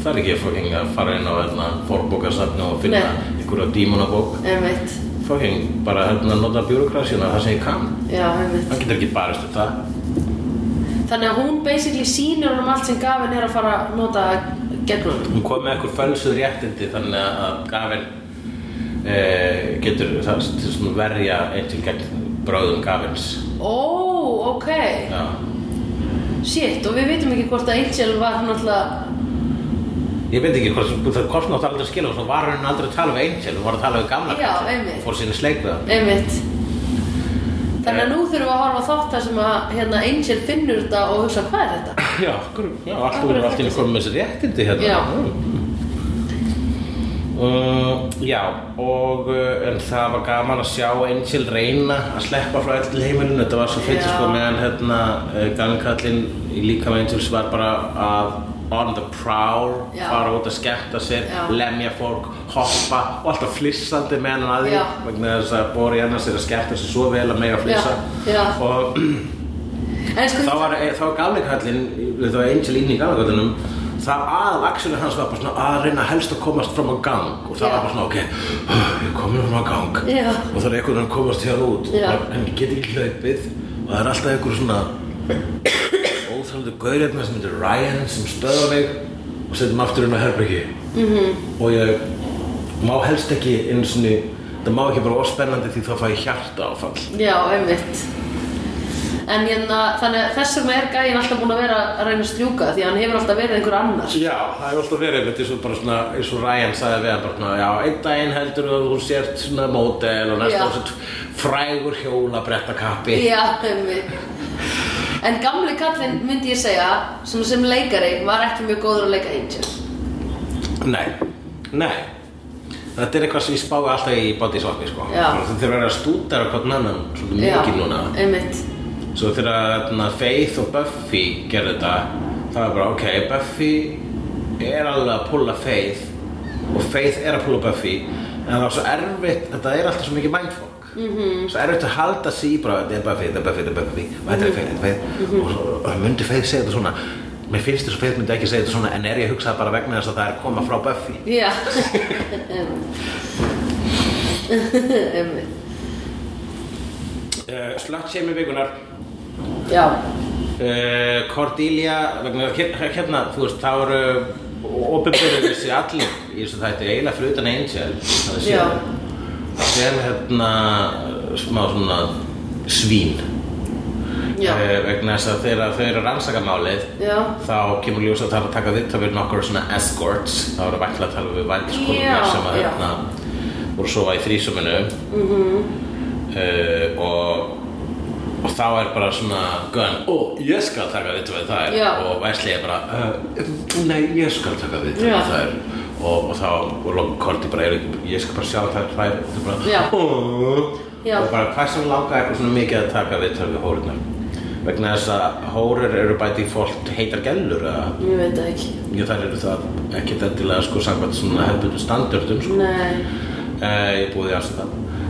Speaker 3: það er ekki fucking að fara inn á hérna, fórbókasafni og finna
Speaker 1: Nei.
Speaker 3: einhverja dímonabók
Speaker 1: Einmitt.
Speaker 3: fucking bara hérna nota bjúrokrasjuna það sem ég kann
Speaker 1: Já, einmitt.
Speaker 3: hann getur ekki barist við það
Speaker 1: Þannig að hún basically sýnir honum allt sem Gavin er að fara að nota gegn honum.
Speaker 3: hún kom með eitthvað fölsuð réttindi þannig að gafin e, getur það til svona verja eins og gegn bráðum gafins
Speaker 1: Ó, ok.
Speaker 3: já
Speaker 1: Shit, og við veitum ekki hvort að Angel var náttúrulega...
Speaker 3: Ég veit ekki hvort það kostnátt aldrei að skilja og svo var hann aldrei að tala við Angel, hún var að tala við gamla
Speaker 1: Já,
Speaker 3: kallinn.
Speaker 1: einmitt.
Speaker 3: fór sinni sleik við hann
Speaker 1: Einmitt.
Speaker 3: Eh.
Speaker 1: Þannig að nú þurfum við að horfa á þátt þar sem að hérna, Angel finnur þetta og hugsa hvað er þetta?
Speaker 3: Mm, Já, já allt úr allt í einu komið með þessi réttindi hérna
Speaker 1: Já.
Speaker 3: Mm. Mm, já, og uh, en það var gaman að sjá Angel reyna að sleppa frá allir heimilinu þetta var svo fyrir
Speaker 1: Já.
Speaker 3: sko meðan hérna uh, gangkallinn í líka með Angels var bara að on the prowl,
Speaker 1: Já.
Speaker 3: fara út að skemmta sér,
Speaker 1: Já.
Speaker 3: lemja fólk, hoppa og alltaf flissandi með hann að því
Speaker 1: Já.
Speaker 3: vegna þess að Bóri Jennars er að skemmta sér svo vel að mega flissa
Speaker 1: Já. Já.
Speaker 3: og
Speaker 1: En sko,
Speaker 3: þá var, þá var galleikallin, það var Angel inn í galleikallinum það aðal axinu hans var bara svona að reyna helst að komast fram á gang og það
Speaker 1: Já.
Speaker 3: var bara svona ok, ég komið fram á gang
Speaker 1: Já.
Speaker 3: og það er einhvern veginn að komast hér út
Speaker 1: Já.
Speaker 3: en ég get ekki hlaupið og það er alltaf einhver svona óþrældu gaurið sem heitir Ryan sem stöða mig og setjum aftur inn á herbyggi
Speaker 1: Mhm.
Speaker 3: -hmm. og ég má helst ekki einu svona það má ekki bara óspennandi því þá fæ ég hjarta áfall
Speaker 1: já, einmitt En hérna, þannig að þess vegna er gæinn alltaf búinn að vera að reyna að strjúka því að hann hefur alltaf verið einhver annar
Speaker 3: Já, það hefur alltaf verið einmitt eins og bara svona, eins og Ryan sagði við hann bara svona, já, einn daginn heldur þú að þú sért svona mótel og
Speaker 1: Já.
Speaker 3: næsta þessu frægur hjólabrettakappi.
Speaker 1: Já, einmitt En gamli kallinn, myndi ég segja, svona sem leikari, var ekki mjög góður að leika Angel
Speaker 3: Nei, nei. Þetta er eitthvað sem ég spái alltaf í body socki, sko.
Speaker 1: Já.
Speaker 3: Þú þurfa að vera að stúdera hvern annan svolítið
Speaker 1: Já,
Speaker 3: mikið núna.
Speaker 1: einmitt
Speaker 3: Svo þegar na, Faith og Buffy gerðu þetta, það var bara, ok, Buffy er alveg að pulla Faith og Faith er að pulla Buffy en það var svo erfitt, þetta er alltaf svo mikið mindfuck -hmm. svo erfitt að halda sig í bara, þetta er Buffy, þetta er Buffy, þetta er Buffy og þetta er Faith, þetta er Faith og, svo, og myndi Faith segja þetta svona mér finnst þess að Faith myndi ekki segja þetta svona en er ég að hugsa það bara vegna þess að það er að koma frá Buffy
Speaker 1: Já Einmitt.
Speaker 3: uh, Slutshaming vikunar
Speaker 1: Já,
Speaker 3: Uh, Cordelia, vegna hér- hérna, þú veist, þá eru ofinbjörður þessi allir í þessu þætti, eiginlega fyrir utan Angel, það er
Speaker 1: Já.
Speaker 3: síðan, sem hérna smá svona svín,
Speaker 1: já,
Speaker 3: Eh, vegna þess að þegar þau eru að rannsaka málið,
Speaker 1: já
Speaker 3: þá kemur ljós að það er að taka vitt að vera nokkur svona escorts, þá eru væntilega að tala við
Speaker 1: Já,
Speaker 3: væntiskonungar sem að
Speaker 1: já.
Speaker 3: hérna voru að sofa í þrísuminu
Speaker 1: Mhm.
Speaker 3: -hmm. uh, og, og þá er bara svona gun, ó, ég skal taka vitt við þær
Speaker 1: Já.
Speaker 3: og Wesley er bara, uh, nei, ég skal taka vitt
Speaker 1: Já.
Speaker 3: við þær og, og þá, og lokum Korti bara, er, ég skal bara sjá þær þær, þau
Speaker 1: Já.
Speaker 3: bara, ó,
Speaker 1: Já.
Speaker 3: og bara hversu langar eitthvað svona mikið að taka vitt við hórunar vegna þess að hórur eru bæti fólk heitar gellur eða
Speaker 1: Ég veit það ekki
Speaker 3: Jú, þær eru það ekki endilega sko samkvæmt svona hefðbundu standardum sko.
Speaker 1: Nei,
Speaker 3: Uh, ég búið í Amsterdam.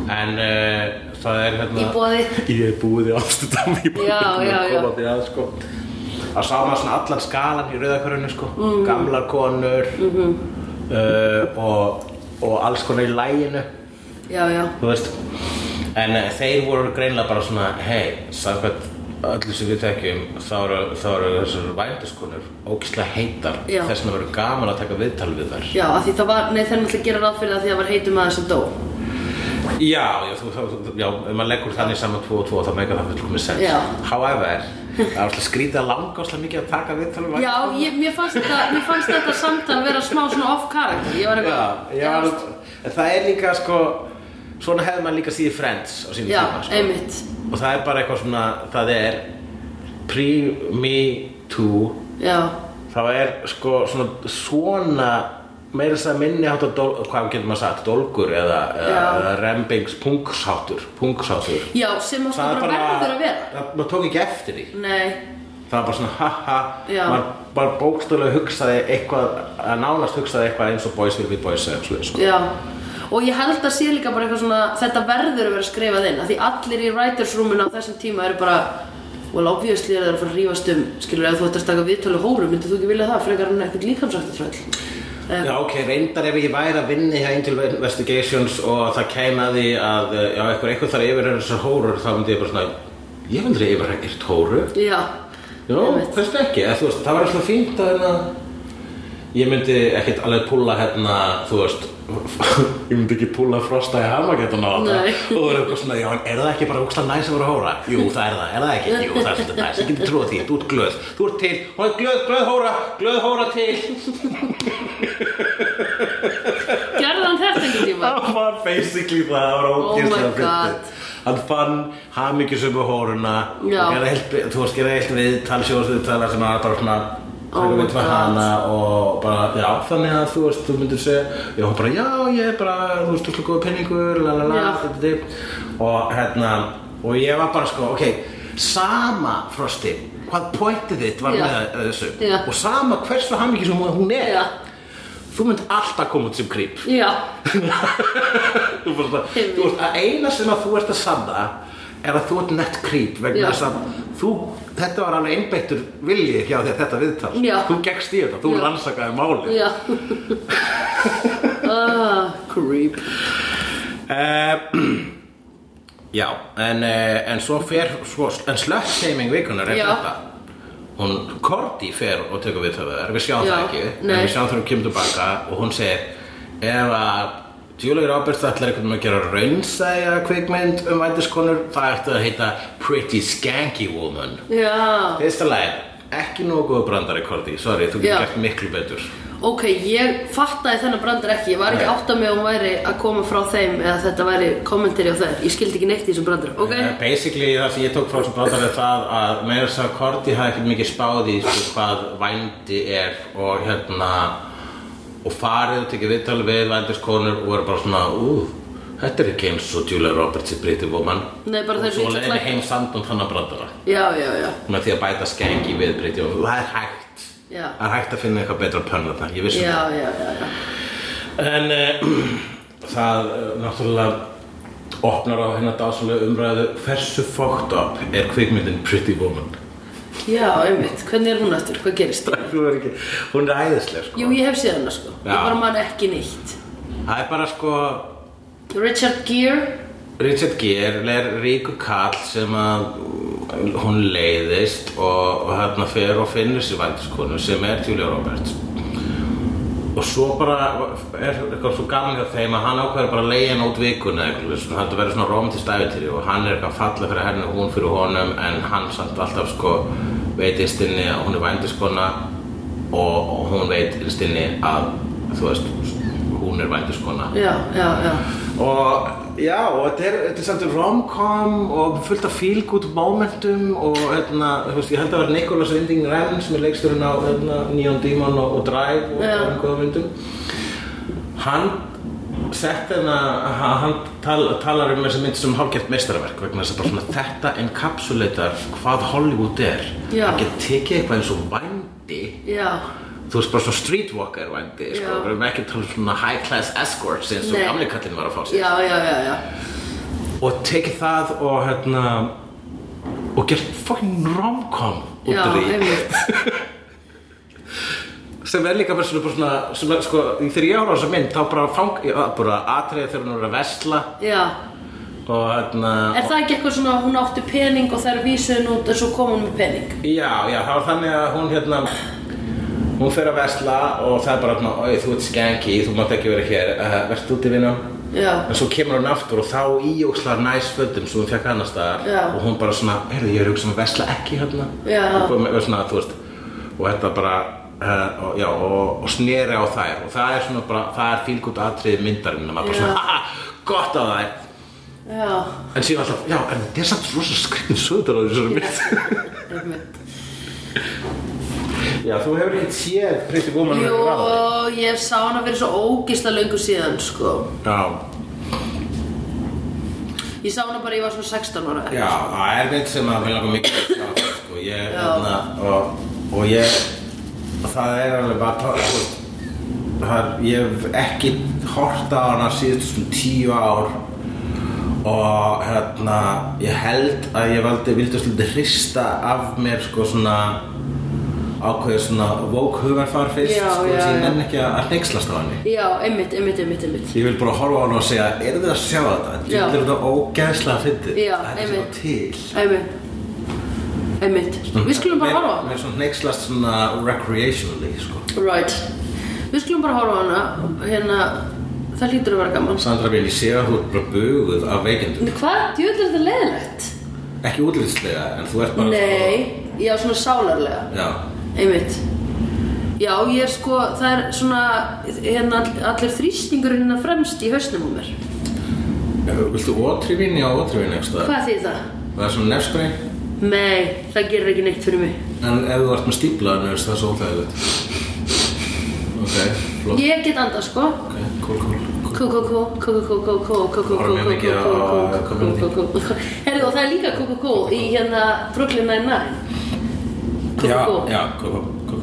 Speaker 3: En uh, það er hérna...
Speaker 1: í bóði
Speaker 3: Ég búið í Amsterdam, ég búið
Speaker 1: Já, já,
Speaker 3: að
Speaker 1: já.
Speaker 3: koma því að sko. Það sá maður svona allan skalan í rauðakörunni sko.
Speaker 1: Mhm.
Speaker 3: Gamlar konur -hmm. og, og alls konar í læginu
Speaker 1: Já, já,
Speaker 3: þú veist en eh, þeir voru greinlega bara svona hei, samkvæmt öllu sem við tekjum þá eru, þá eru þessar vændiskonur ógislega heitar
Speaker 1: Já.
Speaker 3: þess vegna verður gaman að taka viðtal við þær
Speaker 1: já, af því það var, nei það er náttúrulega að gera ráð fyrir það því að það var heitum aðeins sem dó
Speaker 3: já, já, þú, þú, þú, já ef maður leggur þannig saman 2 og 2 þá meika það fyrir komið sens
Speaker 1: Já.
Speaker 3: however, það er alltaf skrítið að langa óslega mikið að taka viðtal við
Speaker 1: Já, ég, mér, fannst þetta, mér fannst þetta samtal vera smá svona off character Ég var
Speaker 3: já,
Speaker 1: eitthvað
Speaker 3: já, en það er líka sko svona hefði maður líka síði Friends á sínum
Speaker 1: já,
Speaker 3: tíma sko.
Speaker 1: einmitt
Speaker 3: og það er bara eitthvað svona það er pre me too
Speaker 1: Já,
Speaker 3: þá er sko svona svona meira þess að minni hátta hvað getur maður sagt, dolgur eða, eða,
Speaker 1: Já.
Speaker 3: eða rembings pungsháttur pungsháttur
Speaker 1: já, sem að það bara verður að vera
Speaker 3: það, maður tók ekki eftir því
Speaker 1: Nei,
Speaker 3: það var bara svona ha ha
Speaker 1: Já.
Speaker 3: maður bara bókstöðlega hugsaði eitthvað að nánast hugsaði eitthvað eins og boys will be boys eða svona sko.
Speaker 1: já Og ég held að sé líka bara eitthvað svona Þetta verður að vera skrifað inn af Því allir í writers roominu á þessum tíma eru bara Well, obviously er það að fara að rífast um Skilur, ef þú ætti að staka viðtölu hóru Myndið þú ekki vilja það, frekar hann eitthvað líkamsrættu tröll
Speaker 3: Já, ok, reyndar ef ég væri að vinni hjá Angel Investigations og það kæm að því að eh, já, eitthvað eitthvað þar yfir er þessar hóru þá myndi ég bara svona ég myndi yfir ekkert hóru
Speaker 1: Já,
Speaker 3: Já,
Speaker 1: Einmitt.
Speaker 3: hversu ekki? Eða, þú veist, það var alltaf fínt að hérna Ég myndi ekkert alveg púla hérna, þú veist Ég myndi ekki púla frosta í hama geta ná þetta
Speaker 1: Nei.
Speaker 3: Og það er eitthvað svona, já, en er það ekki bara úkslega næs að vera hóra? Jú, það er það, er það ekki? Jú, það er svolítið næs, ég geti trúið því, þú ert glöð Þú ert til, hún er glöð, glöð hóra, glöð hóra til
Speaker 1: gerði hann þetta einhvern tíma? Oh
Speaker 3: Það var basically það, það var ógeðslega
Speaker 1: my
Speaker 3: fyndið.
Speaker 1: God.
Speaker 3: Hann fann hamingjusömu hóruna
Speaker 1: Já.
Speaker 3: og gerði heilt, þú veist, gerði heilt viðtal, sjóðsviðtal þar sem hann var bara svona
Speaker 1: Oh my
Speaker 3: Þannig við var
Speaker 1: God.
Speaker 3: hana og bara, já, þannig að þú veist, þú myndir segja, já, bara, já, ég er bara, þú veist, þú slúkuðu penningur, la la la,
Speaker 1: Já.
Speaker 3: þetta þitt Og hérna, og ég var bara sko, ok, sama Frosti, hvað pointið þitt var
Speaker 1: Já.
Speaker 3: með þessu
Speaker 1: Já.
Speaker 3: Og sama hversu hamingi sem hún er,
Speaker 1: Já,
Speaker 3: þú mynd alltaf koma út sem krýp
Speaker 1: já,
Speaker 3: þú veist að,
Speaker 1: Einmitt.
Speaker 3: þú veist að eina sem að þú ert að sanna er að þú ert nett creep
Speaker 1: Já.
Speaker 3: vegna þess að þú, þetta var alveg einbeittur viljið hjá þér þetta viðtal
Speaker 1: Já.
Speaker 3: þú gekkst í þetta, þú
Speaker 1: Já.
Speaker 3: rannsakaði málið
Speaker 1: já Ah, Creep
Speaker 3: uh, já, en, uh, en svo fer svo, en slökkseiming vikunar er
Speaker 1: Já.
Speaker 3: þetta hún Korti fer og tekur við það við sjáum
Speaker 1: Já,
Speaker 3: það ekki,
Speaker 1: nei.
Speaker 3: en við sjáum það hún kemur tilbaka og hún segir ef að Julia Roberts ætlar einhvern veginn að gera raunsæja kvikmynd um vændiskonur það ætti að heita Pretty Skanky Woman
Speaker 1: Já,
Speaker 3: fyrsta lagi, ekki nógu góð brandari Korti, sorry, þú
Speaker 1: Já.
Speaker 3: getur gert miklu betur
Speaker 1: ok, ég fattaði þennan brandar ekki Ég var ekki
Speaker 3: Nei.
Speaker 1: átt að mig um að hún væri að koma frá þeim Eða þetta væri kommentari á þeir Ég skildi ekki neitt í þessum brandar, ok?
Speaker 3: Eh, Basically það sem ég tók frá þessu bátar er það að meira þess að Korti hafði ekkert mikið spáð í sko, hvað vændi er og hérna og farið og tekið viðtal við vændiskonur og verið bara svona ú, þetta er ekki eins og Julia Roberts í Briti Woman
Speaker 1: Nei, bara
Speaker 3: og
Speaker 1: þessu
Speaker 3: svo
Speaker 1: illa
Speaker 3: leiði
Speaker 1: klæddu.
Speaker 3: heim samt um þannig að brandara
Speaker 1: Já, já, já
Speaker 3: með því að bæta skengi við Briti Woman það er hægt
Speaker 1: Já,
Speaker 3: það er hægt að finna eitthvað betra pönn þarna, ég vissi
Speaker 1: já, já, já, já.
Speaker 3: En uh, það eh, náttúrulega opnar á hérna dásalega umræðu hversu fucked up er kvikmyndin Pretty Woman?
Speaker 1: Já, einmitt, hvernig er hún aftur? Hvað gerist?
Speaker 3: Hún er, ekki, hún er æðisleg sko.
Speaker 1: Jú, ég hef séð hana sko Ég
Speaker 3: Já.
Speaker 1: bara man ekki neitt
Speaker 3: Það er bara sko
Speaker 1: Richard Gere
Speaker 3: Richard Gere er ríku kall sem að uh, hún leiðist og, og hérna fer og finnur sér vændiskonu sem er Julia Roberts og svo bara er eitthvað svo gaman hjá þeim að hann ákveður bara að leiða hann út vikuna eitthvað, svona, þetta verður svona romantist æfintýri og hann er eitthvað að falla fyrir henni og hún fyrir honum en hann samt alltaf sko veit einstinni að hún er vændiskona og, og hún veit einstinni að þú veist, hún er vændiskona
Speaker 1: Já, já, já
Speaker 3: og já, og þetta er, þetta er samt rom-com og fullt af feel-good momentum og hérna, þú veist, ég held að vera Nicholas Winding Refn sem er leiksturinn á hérna, Neon Demon og, og Drive og
Speaker 1: Já.
Speaker 3: um góða myndum hann sett hérna, hann hann tal, talar um þessa mynd sem hálfgert meistarverk vegna þess að bara svona þetta encapsulatar hvað Hollywood er
Speaker 1: Já.
Speaker 3: hann getur tekið eitthvað eins og vændi
Speaker 1: Já,
Speaker 3: þú veist bara svona streetwalker vændi sko,
Speaker 1: Já.
Speaker 3: við erum ekki að tala um svona high class escorts eins og
Speaker 1: Nei.
Speaker 3: gamli kallinn var að fá sér
Speaker 1: já, já, já, já.
Speaker 3: og tekið það og hérna og gert fucking rom-com út
Speaker 1: Já,
Speaker 3: af því
Speaker 1: einmitt
Speaker 3: sem er líka bara svona, bara svona, svona sko, þegar ég ára á þessa mynd þá bara fang ég var bara atriði þegar hún er að vesla
Speaker 1: Já,
Speaker 3: og hérna
Speaker 1: er það ekki eitthvað svona að hún átti pening og þær vísuðin út og svo kom hún með pening
Speaker 3: já, já, það var þannig að hún hérna hún fer að vesla og það er bara hérna, oi, þú ert skanky, þú mátt ekki vera hér uh, verðst úti vinna
Speaker 1: Já,
Speaker 3: en svo kemur hún aftur og þá íjókslar næs fötum sem hún fekk annars staðar
Speaker 1: Já.
Speaker 3: og hún bara svona, heyrðu, ég er hugsa um að vesla ekki hérna
Speaker 1: Já.
Speaker 3: og, kom, og svona, þú veist og þetta bara, uh, og, já, og, og sneri á þær og það er svona bara, það er fílgútt atriði myndarinn og maður bara
Speaker 1: Já.
Speaker 3: svona, ah, gott á þær
Speaker 1: já,
Speaker 3: en síðan alltaf, já, en þetta er samt rosa skrifin söður á þessari mynd
Speaker 1: einmitt
Speaker 3: Já, þú hefur ekkert séð Pretty Woman
Speaker 1: Jú,
Speaker 3: með raðari.
Speaker 1: ég sá hana fyrir svo ógisla löngu síðan, sko
Speaker 3: Já,
Speaker 1: Ég sá hana bara, ég var svona 16 ára
Speaker 3: já, það er mynd sem að við langar mikið að sjá, sko, ég,
Speaker 1: Já.
Speaker 3: hérna, og, og ég, það er alveg bara, þú veist, það er, ég hef ekki hort á hana síðustu svona tíu ár og hérna, ég held að ég valdi, vildi svolítið hrista af mér, sko, svona, ákveðið svona vók hugarfar fyrst,
Speaker 1: Já,
Speaker 3: sko,
Speaker 1: já,
Speaker 3: þess að ég
Speaker 1: já.
Speaker 3: nenn ekki að- að hneykslast á henni.
Speaker 1: Já, einmitt, einmitt, einmitt, einmitt
Speaker 3: Ég vil bara horfa á hann og segja, eru þið að sjá þetta?
Speaker 1: Já.
Speaker 3: Þetta er þetta ógæðslega fyndið.
Speaker 1: Já,
Speaker 3: Þetta er
Speaker 1: einmitt.
Speaker 3: svona til.
Speaker 1: Einmitt Einmitt, við skulum bara horfa á hana.
Speaker 3: Mér er svona neykslast svona recreationally, sko.
Speaker 1: Right Við skulum bara horfa á hana Hérna, það hlýtur að vera gaman
Speaker 3: Sandra, vil ég sé að þú ert bara buguð af veikindum.
Speaker 1: En Hvað? Djúvill er þetta leiðilegt?
Speaker 3: Ekki útlýtslega, en þú ert bara...
Speaker 1: Nei, já, svona sálarlega
Speaker 3: Já.
Speaker 1: Einmitt Já, ég er sko, það er svona hérna, all- allir þrýstingurinn hérna fremst í hausnum á mér
Speaker 3: Viltu ótrivinni á ótrivinni, ekki
Speaker 1: Hvað þýð það?
Speaker 3: Það er svona nefspreng.
Speaker 1: Nei, það gerir ekki neitt fyrir mig
Speaker 3: En ef þú ert með stíplaðan er það svo óþægilegt Ok, flott
Speaker 1: Ég get andað sko
Speaker 3: Ok, cool, cool
Speaker 1: Kú, kú, kú, kú, kú, kú, kú, kú, kú, kú,
Speaker 3: Horfum
Speaker 1: kú,
Speaker 3: við mikið á
Speaker 1: kú, kú,
Speaker 3: community?
Speaker 1: kú, kú, kú, kú. Herðu og það er líka kú, kú, kú í hérna Brooklyn Nine-Nine Kú,
Speaker 3: Já,
Speaker 1: kú,
Speaker 3: já, cool, cool,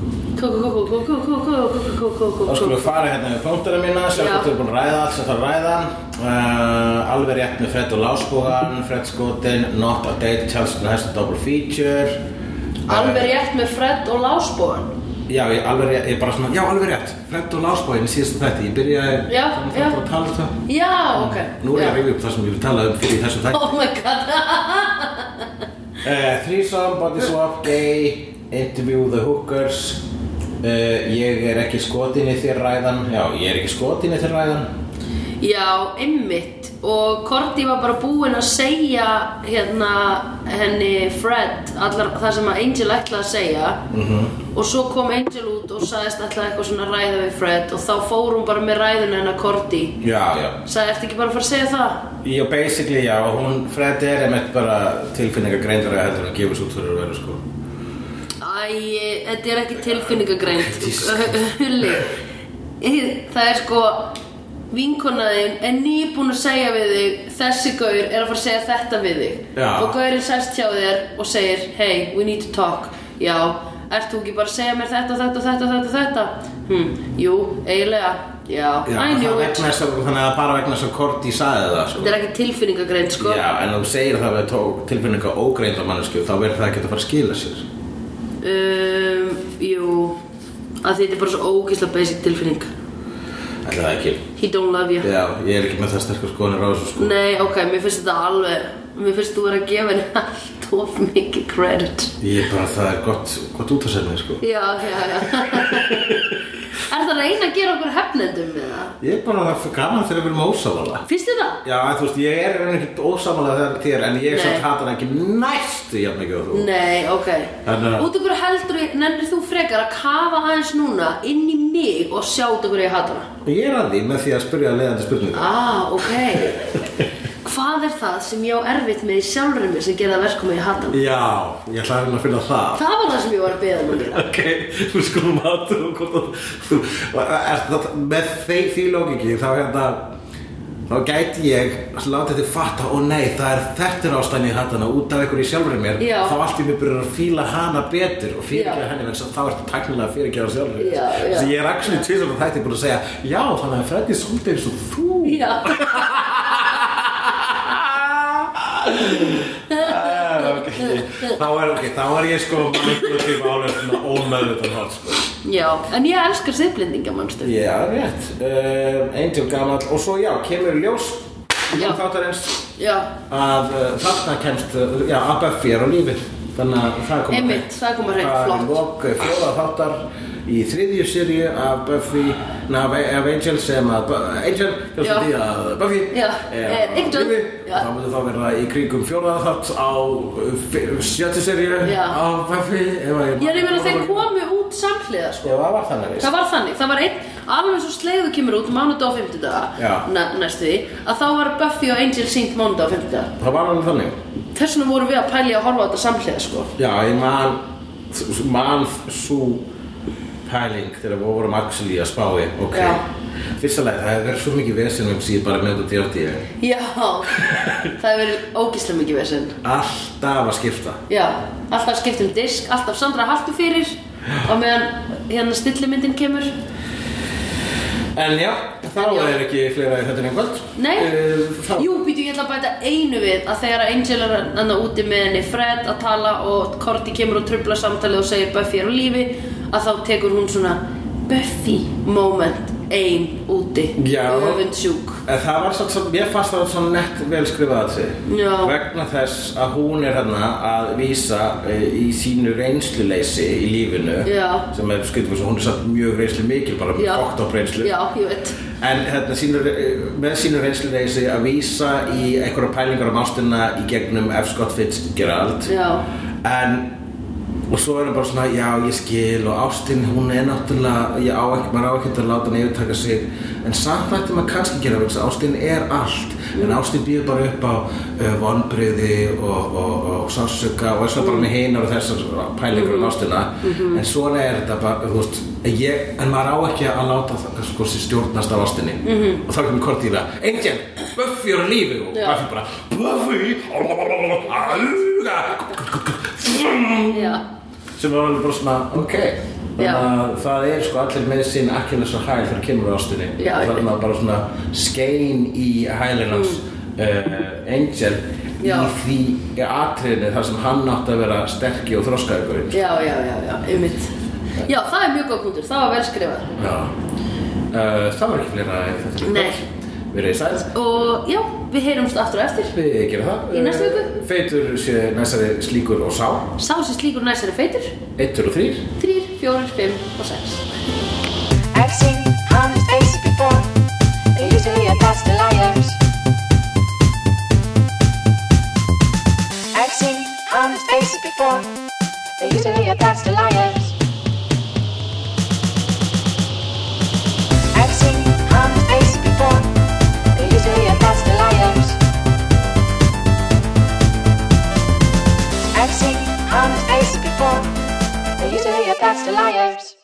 Speaker 1: kú,
Speaker 3: cool
Speaker 1: kú, kú, kú, kú, kú, kú, kú, kú, kú, kú,
Speaker 3: Þá
Speaker 1: kú,
Speaker 3: skulum
Speaker 1: kú
Speaker 3: við fara hérna við punktarinn mína, sjá
Speaker 1: Já.
Speaker 3: hvort við erum búin að ræða allt sem þarf að ræða. Uh, alveg rétt með Fred og Lásbúgan, Fred skotin, Not a Date, Chelsea með hæsta double feature. Uh,
Speaker 1: Alveg rétt með Fred og Lásbóan
Speaker 3: Já, ég, alveg rétt, ég bara svona, já, alveg rétt, Fred og Lásbúgan í síðasta þætti. Ég byrjaði,
Speaker 1: Já,
Speaker 3: þannig
Speaker 1: já.
Speaker 3: að það að tala um það.
Speaker 1: Já, ok
Speaker 3: Nú er ég
Speaker 1: Já.
Speaker 3: að rifja upp það sem ég vil tala um fyrir í þessum þætti.
Speaker 1: Oh my god
Speaker 3: Uh, threesome, body swap, gay, interview the hookers. Uh, ég er ekki skotin í þér ræðan. Já, ég er ekki skotin í þér ræðan.
Speaker 1: Já, einmitt og Korti var bara búin að segja hérna henni Fred allar það sem að Angel ætlaði að segja -hmm. og svo kom Angel út og sagðist ætlaði eitthvað svona að ræða við Fred og þá fór hún bara með ræðuna hennar Korti
Speaker 3: Já, já.
Speaker 1: sagði eftir ekki bara að fara að segja það
Speaker 3: Já, basically, já, hún, Fred er einmitt bara tilfinningar greindara heldur en gefur svo út fyrir að vera, sko.
Speaker 1: Æ, þetta er ekki tilfinningagreint
Speaker 3: Jesus.
Speaker 1: Hulli Það er sko vinkonaðin er nýbúin að segja við þig þessi gaur er að fara að segja þetta við þig
Speaker 3: Já.
Speaker 1: og gaurinn sest hjá þér og segir hey, we need to talk já, ert þú ekki bara að segja mér þetta, þetta, þetta, þetta, þetta hm, jú, eiginlega, já, I
Speaker 3: það
Speaker 1: knew it
Speaker 3: vegna þess að, þannig að bara vegna þess að Korti saði það, sko.
Speaker 1: þetta er ekki tilfinningagreint sko
Speaker 3: Já, en ef þú segir það við tók tilfinninga ógreinda mannesku, þá verður það ekki að fara að skila sér.
Speaker 1: um, jú að þetta er bara svo ógeðslega basic tilfinning
Speaker 3: Ætli það ekki.
Speaker 1: he don't love you
Speaker 3: Já, ég er ekki með það sterkur skoðanir á þessu, sko.
Speaker 1: Nei, ok, mér finnst þetta alveg Mér finnst þú vera að gefa henni allt of mikið credit
Speaker 3: Ég er bara, það er gott, gott út að segja mig, sko.
Speaker 1: Já, já, já Er það að reyna að gera okkur hefnendum með það?
Speaker 3: Ég er bara, það er gaman þegar við erum ósávala.
Speaker 1: Finnst þið það?
Speaker 3: Já, en þú veist, ég er ekkert ósávala þegar þér, en ég
Speaker 1: Nei.
Speaker 3: samt hatar ekki næstu jafn mikið og þú.
Speaker 1: Nei, ok
Speaker 3: Þannig að-
Speaker 1: Út af hverju heldur, nennir þú frekar að kafa aðeins núna inn í mig og sjá út af hverju ég hata hana?
Speaker 3: Ég er að því með því að spyrja leiðandi spurningu.
Speaker 1: Ah, ok Hvað er það sem ég á erfitt með í sjálfri mér sem gerða verkum að ég hata hana?
Speaker 3: Já, ég ætla að reyna að finna það
Speaker 1: Það var það sem ég var að beða um að gera
Speaker 3: Ok, við skulum aðtöðu hvort að þú er það, með þeir því lókingi þá hérna þá gæti ég látið þið fatta og nei, það er þettur ástæðni hattana út af einhverju í sjálfri mér
Speaker 1: Já.
Speaker 3: þá allt í mér byrjar að fíla hana betur og
Speaker 1: Já.
Speaker 3: fyrirgera henni vegna þess að þá ertu tæknilega að fyrirgera sjálfri
Speaker 1: Já, já.
Speaker 3: þess að ég er actually tvisar og þætti búin að segja já, þannig að Freddy er svolítið eins og þú
Speaker 1: Já,
Speaker 3: Ah, ok. þá, er, okay, þá er ég sko miklu tíma álega svona ómeðvitað hát sko.
Speaker 1: já, en ég elskar siðblendinga, mannstu
Speaker 3: Já, rétt uh, Angel gamall og svo já, kemur í ljós
Speaker 1: Já.
Speaker 3: Já. þáttarins
Speaker 1: Já,
Speaker 3: að uh, þarna kemst uh, já, að Buffy er á lífi þannig að það kom
Speaker 1: Einmitt, það kom á hreint, flott.
Speaker 3: Það er lok fjóða þáttar í þriðju sirju af Buffy na, af, af Angel sem að Bu- Angel
Speaker 1: Já.
Speaker 3: kemst því að Buffy
Speaker 1: Já,
Speaker 3: er
Speaker 1: eh,
Speaker 3: á
Speaker 1: Angel,
Speaker 3: lífi
Speaker 1: já.
Speaker 3: og þá myndi þá vera í kringum fjóða þátt á uh, f- sjöttu sirju
Speaker 1: Já.
Speaker 3: af Buffy ef að
Speaker 1: Ég er meina þeir
Speaker 3: Já,
Speaker 1: komu út samhliða sko.
Speaker 3: það var þannig veist.
Speaker 1: Það var þannig, það var einn, alveg svo sleiðu kemur út mánudag og
Speaker 3: Já.
Speaker 1: fimmtudaga na- næstu því að þá var Buffy og Angel sínt mánudag og fimmtudaga
Speaker 3: Það var alveg þannig
Speaker 1: Þess vegna vorum við að pæli að horfa á þetta samhliða sko
Speaker 3: Já, ég man man svo pæling þegar við vorum axli að spái ok,
Speaker 1: Já.
Speaker 3: fyrsta leið, það hefur verið svo mikið vesinn um síðan bara með þetta djótti ég
Speaker 1: Já, það hefur verið ógislega mikið vesinn
Speaker 3: alltaf að skipta
Speaker 1: Já, alltaf skipt um disk, alltaf Sandra haltu fyrir og meðan hérna stillimyndin kemur
Speaker 3: en já, þá
Speaker 1: Já.
Speaker 3: er ekki fleira í þetta nefn kvöld
Speaker 1: Nei,
Speaker 3: Eh, þá,
Speaker 1: jú, býtu, ég ætla að bæta einu við að þegar Angel er hann úti með henni Fred að tala og Korti kemur og trubla samtalið og segir Buffy er á lífi að þá tekur hún svona Buffy moment ein úti
Speaker 3: Já.
Speaker 1: öfund sjúk
Speaker 3: En það var svona, mér fannst það svona nett vel skrifað að sig
Speaker 1: Já.
Speaker 3: vegna þess að hún er hérna að vísa eh, í sínu reynsluleysi í lífinu
Speaker 1: Já.
Speaker 3: sem er skrifað svo hún er satt mjög reynslu mikil bara
Speaker 1: Já.
Speaker 3: með fokkt á reynslu
Speaker 1: Já, ég veit
Speaker 3: En hérna, sínur, með sínur reynsluleysi að vísa í einhverja pælingar um ástina í gegnum F. Scott Fitzgerald
Speaker 1: Já.
Speaker 3: En og svo er það bara svona, já ég skil og ástinn hún er náttúrulega, ég á ekki, maður á ekki að láta hann yfirtaka sig en samt ætti maður kannski að gera vegna þess að ástinn er allt en ástinn býður bara upp á uh, vonbriði og, og, og sásuka og er svo bara með hinar og þessar pælingur um ástina en svona er þetta bara, þú veist ég, en maður á ekki að láta það sko, sem stjórnast af ástinni og þá kemur Cordelia, Angel, Buffy er á lífi og
Speaker 1: Já.
Speaker 3: Buffy bara, Buffy alluga
Speaker 1: Já,
Speaker 3: sem var alveg bara svona, ok
Speaker 1: Já.
Speaker 3: þannig að það er sko allir með sín akkilins og hæl þegar kemur á ástinni
Speaker 1: Já,
Speaker 3: og þannig
Speaker 1: einmitt.
Speaker 3: að bara svona skein í hælinans mm. Angel
Speaker 1: Já.
Speaker 3: í því atriðinu þar sem hann átti að vera sterki og þroskaðugur
Speaker 1: já, já, já, já, einmitt Já, það er mjög góð punktur, það var vel skrifað
Speaker 3: Já uh, Það var ekki fleira í þetta
Speaker 1: Nei.
Speaker 3: Við erum í sæl
Speaker 1: Og já, við heyrumst aftur á eftir
Speaker 3: Við gerum það
Speaker 1: Í næstu viku.
Speaker 3: Eh, Feitur sé næstari slíkur og sá
Speaker 1: Sá sér slíkur næsari feitur
Speaker 3: Eittur og þrýr
Speaker 1: 3, 4, 5 og 6
Speaker 4: I've seen honest faces before. They usually are past the liars. I've seen honest faces before. They usually are past the liars. I've seen honest faces before. They usually are past the liars. I've seen honest faces before. They usually are past the liars.